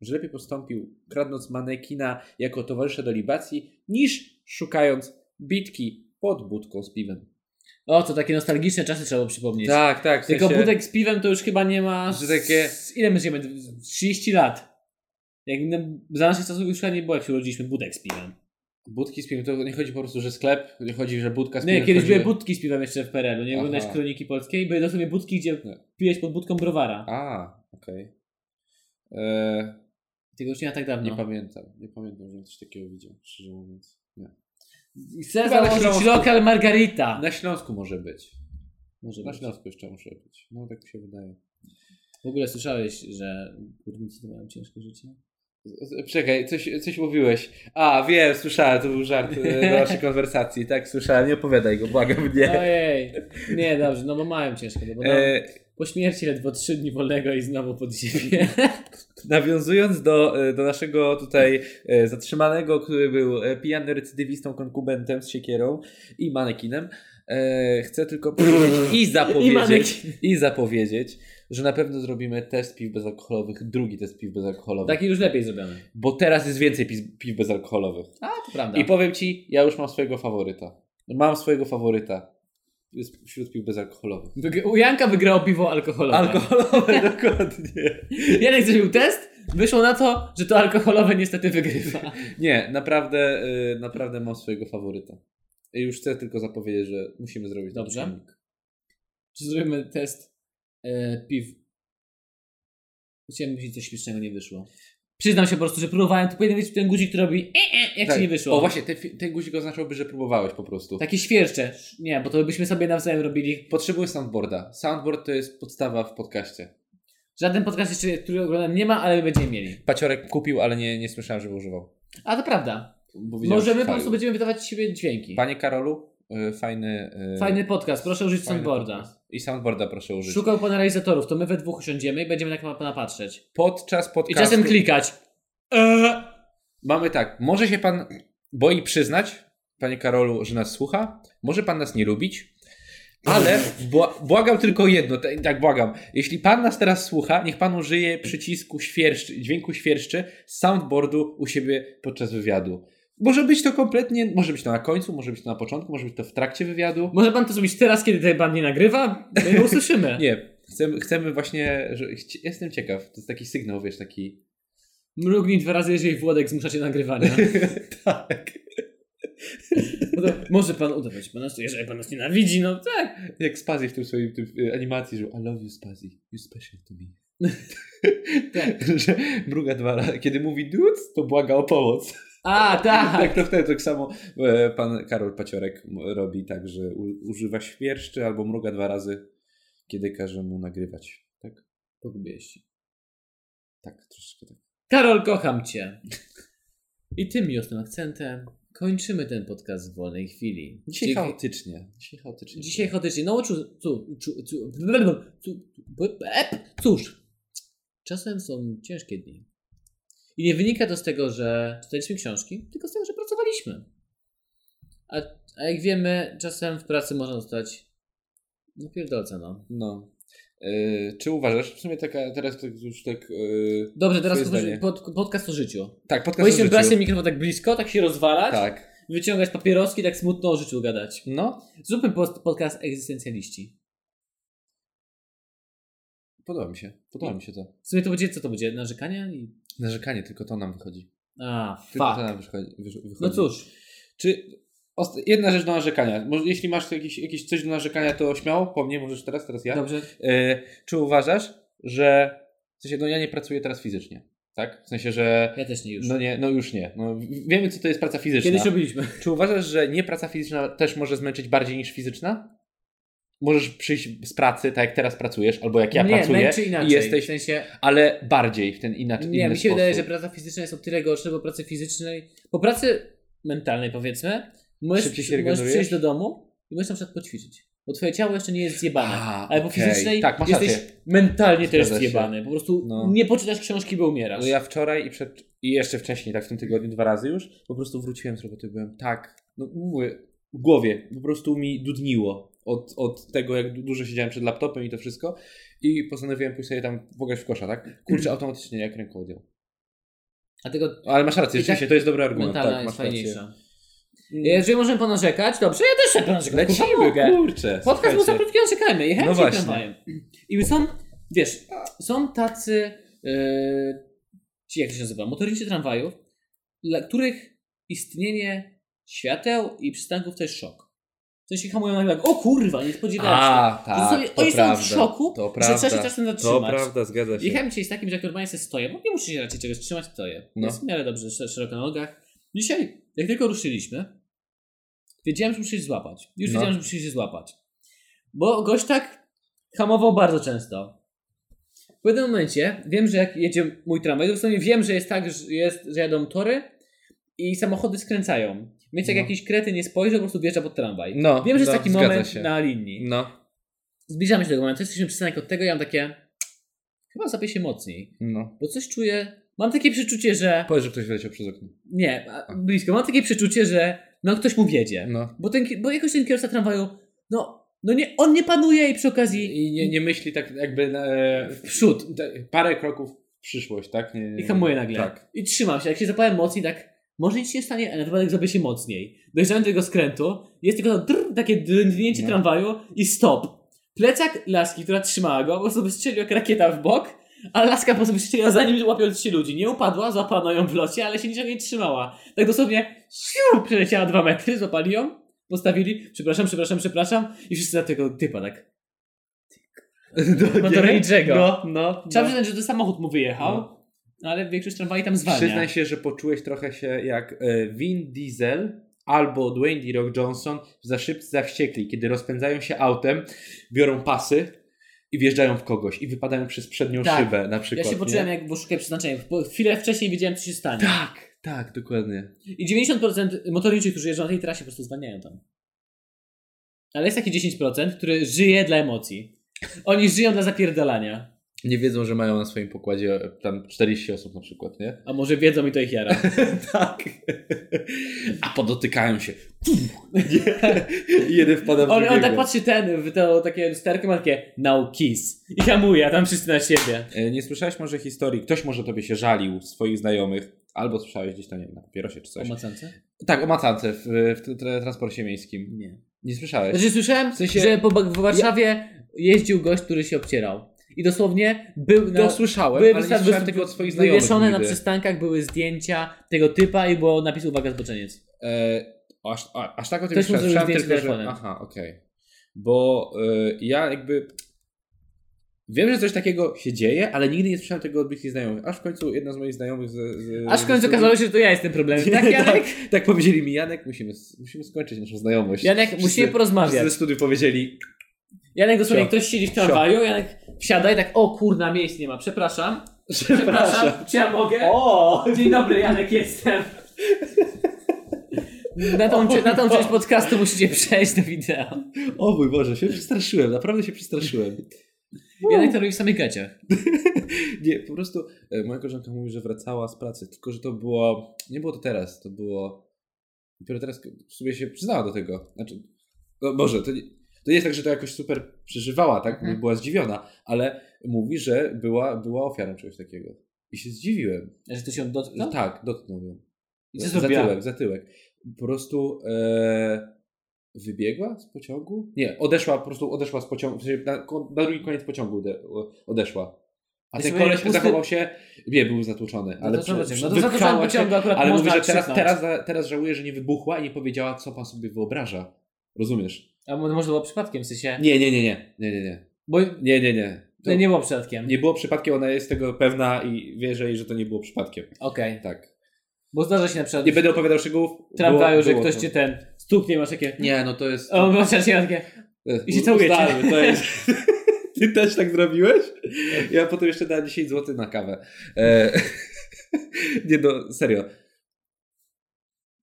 że lepiej postąpił kradnąc manekina jako towarzysza do libacji, niż szukając bitki pod budką z piwem. O, to takie nostalgiczne czasy trzeba było przypomnieć. Tak, tak. W Tylko butek z piwem to już chyba nie ma. Że takie- z- Ile my żyjemy? 30 lat. Jak na... za naszych czasów już chyba nie było, jak się urodziliśmy, budek z piwem. Budki z piwem to nie chodzi po prostu, że sklep, nie chodzi, że budka z piwem. Nie, No kiedyś chodzi, były że- budki z piwem jeszcze w PRL-u. Nie Aha. oglądałeś kroniki polskiej? Były dosłownie budki, gdzie Nie. piłeś pod budką browara. A, okej. E, Tego już nie ma tak Nie dawno. pamiętam. Nie pamiętam, żebym coś takiego widział, szczerze mówiąc. Nie. I Chcę Chyba No, na założyć Śląsku. lokal Margarita. Na Śląsku może być. Może Na być. Śląsku jeszcze muszę być. No tak mi się wydaje. W ogóle słyszałeś, że górnicy to mają ciężkie życie? Z- Czekaj, coś, coś mówiłeś. A, wiem, słyszałem, to był żart e, do naszej konwersacji. Tak, słyszałem, nie opowiadaj go, błagam mnie. Ojej. Nie, dobrze, no bo mają ciężkie. No bo tam... E, Po śmierci ledwo trzy dni wolnego i znowu pod ziemię. nawiązując do, e, do naszego tutaj e, zatrzymanego, który był e, pijany recydywistą, konkubentem z siekierą i manekinem, e, chcę tylko powiedzieć i I zapowiedzieć, manekin. i zapowiedzieć, że na pewno zrobimy test piw bezalkoholowych, drugi test piw bezalkoholowych, Taki już lepiej zrobiony. bo teraz jest więcej piw, piw bezalkoholowych. A, to prawda. I powiem ci, ja już mam swojego faworyta. Mam swojego faworyta. Jest wśród pił bezalkoholowych. Wyg- U Janka wygrało piwo alkoholowe. Alkoholowe, dokładnie. Janek zrobił test, wyszło na to, że to alkoholowe niestety wygrywa. Nie, naprawdę, y, naprawdę mam swojego faworyta. I już chcę tylko zapowiedzieć, że musimy zrobić ten Dobrze. filmik. Czy zrobimy test e, piw? Chciałem myśleć, coś śmiesznego nie wyszło. Przyznam się po prostu, że próbowałem, to powinien być ten guzik, który robi e, e, jak Tak. ci nie wyszło. Tak. O właśnie, ten, fi- ten guzik oznaczałby, że próbowałeś po prostu. Takie świercze. Nie, bo to byśmy sobie nawzajem robili. Potrzebuję soundboarda. Soundboard to jest podstawa w podcaście. Żaden podcast jeszcze, który oglądam, nie ma, ale my będziemy mieli. Paciorek kupił, ale nie, nie słyszałem, żeby używał. A to prawda. Bo widziałem, Możemy że po prostu chwalił. będziemy wydawać z siebie dźwięki. Panie Karolu, y, fajny... y, Fajny podcast, proszę użyć fajny soundboarda. podcast. I soundboarda proszę użyć. Szukał pana realizatorów, to my we dwóch usiądziemy i będziemy tak na pana patrzeć. Podczas I podcastu... czasem klikać. Eee. Mamy tak, może się pan boi przyznać, panie Karolu, że nas słucha, może pan nas nie lubić, ale bła- błagam tylko jedno, te- tak błagam, jeśli pan nas teraz słucha, niech pan użyje przycisku świerszczy, dźwięku świerszczy z soundboardu u siebie podczas wywiadu. Może być to kompletnie, może być to na końcu, może być to na początku, może być to w trakcie wywiadu. Może pan to zrobić teraz, kiedy tutaj pan nie nagrywa? My nie usłyszymy. Nie, chcemy, chcemy właśnie, że, chci- jestem ciekaw, to jest taki sygnał, wiesz, taki... Mrugnij dwa razy, jeżeli Włodek zmusza cię do nagrywania. tak. No to może pan udawać pana, jeżeli pan nas nienawidzi, no tak. Jak Spazi w tym swojej tym, y, animacji, że I love you Spazi, you special to me. Tak. że mruga dwa razy, kiedy mówi dudes, to błaga o pomoc. A, tak. Tak, to wtedy tak samo e, pan Karol Paciorek m- robi tak, że u, używa świerszczy albo mruga dwa razy, kiedy każe mu nagrywać. Tak? Pogubiłeś się. Tak, troszeczkę tak. Karol, kocham cię. I tym miłosnym akcentem kończymy ten podcast w wolnej chwili. Dzisiaj Dzięki- chaotycznie. Dzisiaj chaotycznie. Dzisiaj chodycznie. No, czu, czu, czu, czu, blablabla, czu, ep. cóż, czasem są ciężkie dni. I nie wynika to z tego, że czytaliśmy książki, tylko z tego, że pracowaliśmy. A, a jak wiemy, czasem w pracy można zostać no pierdolca, no. No. E, czy uważasz, w sumie taka, teraz tak już tak... e, Dobrze, teraz Twoje otworzymy zdanie. pod, podcast o życiu. tak, podcast o Powinniśmy życiu. brać ten mikrofon tak blisko, tak się rozwalać, Tak. wyciągać papieroski, tak smutno o życiu gadać. No, Zróbmy post- podcast egzystencjaliści. podoba mi się. Podoba mi się to. W sumie to będzie, co to będzie, narzekanie i... Narzekanie, tylko to nam wychodzi. A, Tylko to fuck. nam wychodzi. wyż- wychodzi. No cóż. Czy ost- jedna rzecz do narzekania. Może, jeśli masz jakieś, jakieś coś do narzekania, to śmiało po mnie, możesz teraz, teraz ja. Dobrze. E, czy uważasz, że w sensie, no ja nie pracuję teraz fizycznie, tak? W sensie, że Ja też nie już. no nie, no już nie. No, w- wiemy, co to jest praca fizyczna. Kiedyś robiliśmy. Czy uważasz, że nie praca fizyczna też może zmęczyć bardziej niż fizyczna? Możesz przyjść z pracy, tak jak teraz pracujesz, albo jak ja nie, pracuję, męczy i inaczej. jesteś, W sensie, ale bardziej w ten inaczej. nie, inny mi się wydaje, że sposób. praca fizyczna jest o tyle gorsza, bo pracy fizycznej, po pracy mentalnej powiedzmy, możesz, Szybciej się możesz regenerujesz? przyjść do domu i możesz na przykład poćwiczyć. Bo twoje ciało jeszcze nie jest zjebane. A, ale po okej. fizycznej Tak, masz jesteś rację. mentalnie też Zgadza się. zjebany. Po prostu No. nie poczytasz książki, bo umierasz. No ja wczoraj i, przed, i jeszcze wcześniej, tak w tym tygodniu dwa razy już, po prostu wróciłem z roboty, byłem tak, no mówię, w głowie, po prostu mi dudniło od, od tego, jak du- dużo siedziałem przed laptopem i to wszystko i postanowiłem pójść sobie tam pograć w kosza, tak? Kurczę, automatycznie jak ręką odjął. Dlatego Ale masz I rację, rzeczywiście, to jest dobry argument, mentalna tak, jest masz rację. fajniejsza. Jeżeli możemy ponarzekać, dobrze, ja też sobie ponarzekam. Kurwa, Lecimy, mogę. kurczę, Podcast był za słuchajcie. krótki, narzekajmy. Jechałem No no właśnie. tramwajem. I są, wiesz, są tacy, yy, ci, jak to się nazywa, motorniczy tramwajów, dla których istnienie świateł i przystanków to jest szok. To się hamują nagle, jak, o kurwa, nie spodziewałem się. A, Że tak, sobie- to oni prawda, są w szoku, to że trzeba się prawda. czasem To zatrzymać. prawda, zgadza się. Jechałem dzisiaj z takim, że jak normalnie sobie stoję, bo nie muszę się raczej czegoś trzymać, stoję. No. Jest w miarę dobrze, sz- szeroko na nogach. Dzisiaj, jak tylko ruszyliśmy, wiedziałem, że muszę się złapać. Już No. wiedziałem, że muszę się złapać. Bo gość tak hamował bardzo często. W pewnym momencie wiem, że jak jedzie mój tramwaj, to w sumie wiem, że jest tak, że, jest, że jadą tory i samochody skręcają. Więc jak No. jakiś krety nie spojrzy, po prostu wjeżdża pod tramwaj. No, wiem, że jest no, taki zgadza moment się. na linii. No, Zbliżamy się do tego momentu, jesteśmy przystanek od tego, ja mam takie... Chyba zapię się mocniej no. bo coś czuję. Mam takie przeczucie, że. Powiedz, że ktoś wyleciał przez okno. Nie, a- blisko. Mam takie przeczucie, że. No, ktoś mu wiedzie. No. Bo, ten, ki- bo jakoś ten kierowca tramwaju. No, no nie, on nie panuje i przy okazji. I nie, nie myśli tak jakby na, W przód. Te- parę kroków w przyszłość, tak? Nie, nie, I hamuje nagle. Tak. I trzymam się. Jak się zapałem mocniej, tak. Może nic się nie stanie, ale na wypadek zrobię się mocniej. Dojeżdżamy do tego skrętu. Jest tylko to drr, takie drgnięcie No. tramwaju i stop. Plecak laski, która trzymała go, po prostu wystrzelił jak rakieta w bok, a laska po prostu wystrzeliła za nim, łapiąc się ludzi. Nie upadła, złapano ją w locie, ale się niczego nie trzymała. Tak dosłownie siu, przeleciała dwa metry, złapali ją, postawili, przepraszam, przepraszam, przepraszam i wszyscy na tego typa tak. Motorniczego. No, no. Trzeba no. przyznać, że ten samochód mu wyjechał, No. ale większość tramwaji tam zwalnia. Przyznaj się, że poczułeś trochę się jak e, Vin Diesel albo Dwayne The Rock Johnson w Za szybcy, za wściekli, kiedy rozpędzają się autem, biorą pasy i wjeżdżają w kogoś i wypadają przez przednią Tak. szybę na Ja przykład. się nie? poczułem, jak bo szukaj przeznaczenia. Bo chwilę wcześniej wiedziałem, co się stanie. Tak, tak, dokładnie. I 90% motorniczych, którzy jeżdżą na tej trasie, po prostu zwalniają tam. Ale jest taki 10%, który żyje dla emocji. Oni żyją dla zapierdalania. Nie wiedzą, że mają na swoim pokładzie e, tam 40 osób na przykład, nie? A może wiedzą i to ich jara. Tak. A podotykają się. I jeden wpada w On, on tak drugiego. patrzy ten, w to takie lusterkę, ma takie now kiss. I hamuje, a tam wszyscy na siebie. E, Nie słyszałeś może historii, ktoś może tobie się żalił, swoich znajomych, Albo słyszałeś gdzieś tam, nie wiem, na papierosie czy coś. O macance? tak, o macance w, w t- t- transporcie miejskim. Nie. Nie słyszałeś? Znaczy słyszałem, sensie- że po, w Warszawie jeździł gość, który się obcierał. I dosłownie No, był na... To słyszałem, ale nie wysta- słyszałem wy- tego od swoich znajomych Wywieszone na nigdy. przystankach były zdjęcia tego typa i było napis uwaga zboczeniec. E, aż, a, aż tak o tym Ktoś mu słyszałem. zrobił Słyszałem zdjęcie tylko, że... telefonem. Aha, okej. Bo y, ja jakby... Wiem, że coś takiego się dzieje, ale nigdy nie słyszałem tego od bliskich znajomych. Aż w końcu jedna z moich znajomych z... z Aż w końcu z- okazało się, że to ja jestem problemem. Nie, Tak, Janek? Tak powiedzieli mi, Janek, musimy, musimy skończyć naszą znajomość. Janek, Wszyscy- musimy wszyscy porozmawiać. ze studiów powiedzieli, Janek dosłownie, Sio. ktoś siedzi w tramwaju, Janek wsiada i tak, o kurna, miejsc nie ma, przepraszam. Przepraszam, czy ja mogę? O! Dzień dobry, Janek jestem. Na tą, cze- na tą część podcastu musicie przejść do wideo. o mój Boże, się przestraszyłem, naprawdę się przestraszyłem. Janek to robi w samych gaciach. Nie, po prostu e, moja koleżanka mówi, że wracała z pracy, tylko że to było, nie było to teraz, to było, dopiero teraz w sumie się przyznała do tego. Znaczy, no Boże, to nie, to nie jest tak, że to jakoś super przeżywała, tak, Mhm. była zdziwiona, ale mówi, że była, była ofiarą czegoś takiego. I się zdziwiłem, Że to się że dotknął? tak, dotknął ją. I co zrobiła? zatyłek, zatyłek. Po prostu e, wybiegła z pociągu? Nie, odeszła, po prostu odeszła z pociągu, w sensie na, na drugi koniec pociągu de, odeszła. A Ja ten sobie koleś pusty- zachował się, nie, był zatłuczony, No ale to przy- zobaczymy. przy- No to za to wypchała sam się, pociągu akurat Ale można mówi, że teraz, krzyknąć. teraz, teraz żałuje, że nie wybuchła i nie powiedziała, co pan sobie wyobraża. Rozumiesz? A mo- może było przypadkiem, w sensie... Nie, nie, nie, nie, nie, nie, nie, Bo nie, nie, nie. To to No nie było przypadkiem. nie było przypadkiem, ona jest tego pewna i wierzę jej, że to nie było przypadkiem. Okej. Tak. Bo zdarza się na przykład Nie będę opowiadał szczegółów. w tramwaju, Było- że było ktoś to. cię ten stuknie, masz takie... Nie, no to jest... O, masz takie... takie... I się całujecie. Ustalmy, To jest... Ty też tak zrobiłeś? Ja potem jeszcze dałem 10 zł na kawę. E... Nie no, serio.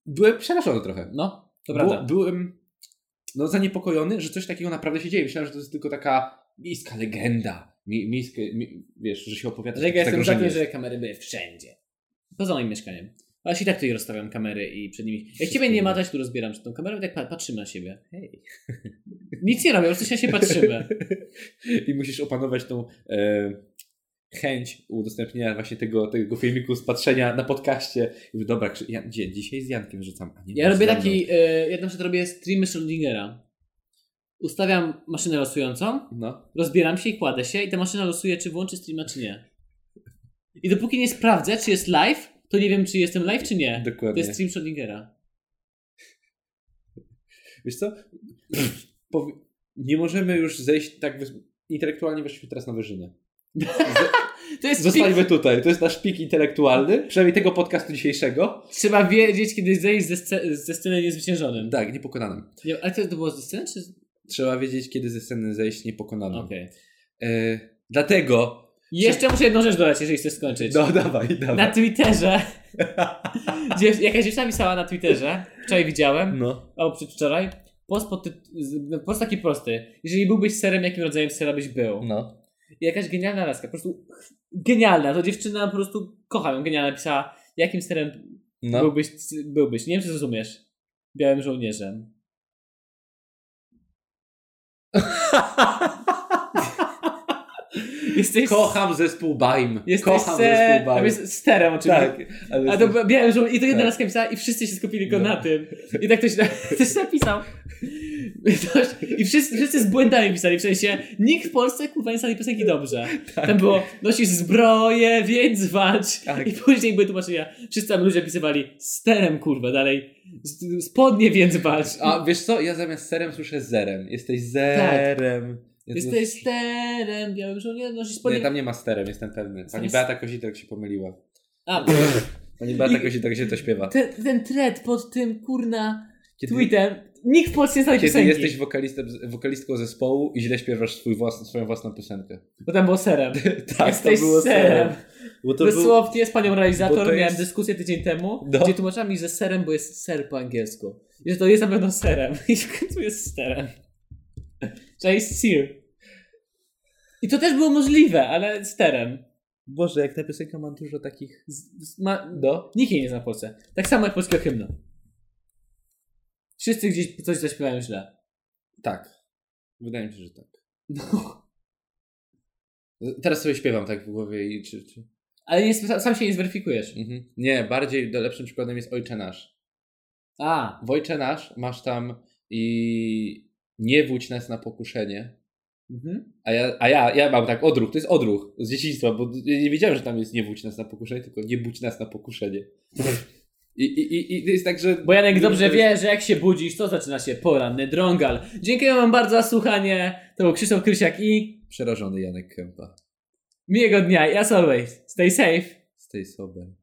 Byłem przerażony trochę. No, to prawda. Był- byłem no, zaniepokojony, że coś takiego naprawdę się dzieje. Myślałem, że to jest tylko taka miejska legenda. Mi, miejskie, mi, wiesz, że się opowiada. Że ja takie jestem zagrożenie taki, jest. że kamery były wszędzie. Poza moim mieszkaniem. Ale się i tak tutaj rozstawiam kamery i przed nimi. Jak ciebie nie ma, też tu rozbieram przed tą kamerą i tak pa- patrzymy na siebie. Hej. Nic nie robię, po prostu się się patrzymy. I musisz opanować tą e, chęć udostępnienia właśnie tego, tego filmiku z patrzenia na podcaście. I mówię, dobra, Krzy- ja, gdzie? Dzisiaj z Jankiem rzucam. A nie Ja robię ze mną. taki. Y, ja na przykład robię streamy Schrödingera. Ustawiam maszynę losującą, No. rozbieram się i kładę się i ta maszyna losuje, czy włączy streama, czy nie. I dopóki nie sprawdzę, czy jest live, to nie wiem, czy jestem live, czy nie. To Dokładnie. jest stream Schrödingera. Wiesz co? Powi- nie możemy już zejść tak wys- intelektualnie weszliśmy teraz na wyżynę. To jest stream Zostańmy tutaj. To jest nasz pik intelektualny, przynajmniej tego podcastu dzisiejszego. Trzeba wiedzieć, kiedy zejść ze, sce- ze sceny niezwyciężonym. Tak, niepokonanym. Nie, ale to, to było ze sceny, czy... z- Trzeba wiedzieć, kiedy ze sceny zejść niepokonanym. Okej. E, dlatego... Jeszcze muszę jedną rzecz dodać, jeżeli chcesz skończyć. No dawaj, dawaj. Na Twitterze. Dziew- jakaś dziewczyna pisała na Twitterze, wczoraj widziałem, No. albo przedwczoraj, post, pod tyt- z- no, post taki prosty. Jeżeli byłbyś serem, jakim rodzajem sera byś był? No. I jakaś genialna laska, po prostu genialna, to dziewczyna po prostu, kocham ją, genialna, pisała, jakim serem no. byłbyś, byłbyś, nie wiem czy zrozumiesz, białym żołnierzem. Jesteś... Kocham zespół Baim. Jesteś Kocham se... zespół a Baim. więc sterem oczywiście. Tak, ale A to była- miałem, że i to jedna Tak. laska pisała i wszyscy się skupili tylko No. na tym. I tak ktoś, ktoś napisał. Ktoś, I wszyscy, wszyscy z błędami pisali, w sensie nikt w Polsce kurwa nie stali piosenki dobrze. Tam było, nosisz zbroję, więc walcz. Tak. I później były tłumaczenia, wszyscy tam ludzie pisywali sterem kurwa dalej, z- spodnie więc walcz. A wiesz co, ja zamiast serem słyszę zerem. Jesteś zerem. Ja to- Tak. Jesteś sterem, białym żołnierzem, nosisz spodnie... Nie, tam nie ma sterem, jestem pewny. Pani Zamiast- Beata Kozitek się pomyliła. A, tak. Pani Beata Kozitek się to śpiewa. ten, ten thread pod tym kurna Kiedy, tweetem, nikt w Polsce nie stali kiedy piosenki. jesteś wokalistą, wokalistką zespołu i źle śpiewasz swój własny, swoją własną piosenkę. Bo tam było serem. Tak, Jesteś serem. Bo to był... Dosłownie z panią bo realizator to miałem jest- dyskusję tydzień temu, No. gdzie tłumaczyła mi, że serem, bo jest ser po angielsku. I że to jest na pewno serem. I w końcu jest serem. Że jest sear. I to też było możliwe, ale sterem. Boże, jak ta piosenka ma dużo takich... Z, z, ma, no. Do? nikt jej nie zna w Polsce. Tak samo jak polskiego hymnu. Wszyscy gdzieś coś zaśpiewają źle. Tak. Wydaje mi się, że No. tak. Teraz sobie śpiewam tak w głowie i czy... czy... Ale nie, sam się nie zweryfikujesz. Mhm. Nie, bardziej do- lepszym przykładem jest Ojcze Nasz. A, W Ojcze Nasz masz tam i nie wódź nas na pokuszenie. mhm. A ja, a ja, ja mam tak odruch, to jest odruch z dzieciństwa, bo ja nie wiedziałem, że tam jest nie wódź nas na pokuszenie, tylko nie budź nas na pokuszenie. I, i, i, i to jest tak, że... bo Janek to dobrze jest- wie, że jak się budzisz, to zaczyna się poranny drągal. Dziękuję Wam bardzo za słuchanie. To był Krzysztof Krysiak i Przerażony Janek Kępa. miłego dnia. I as always, stay safe. Stay sober.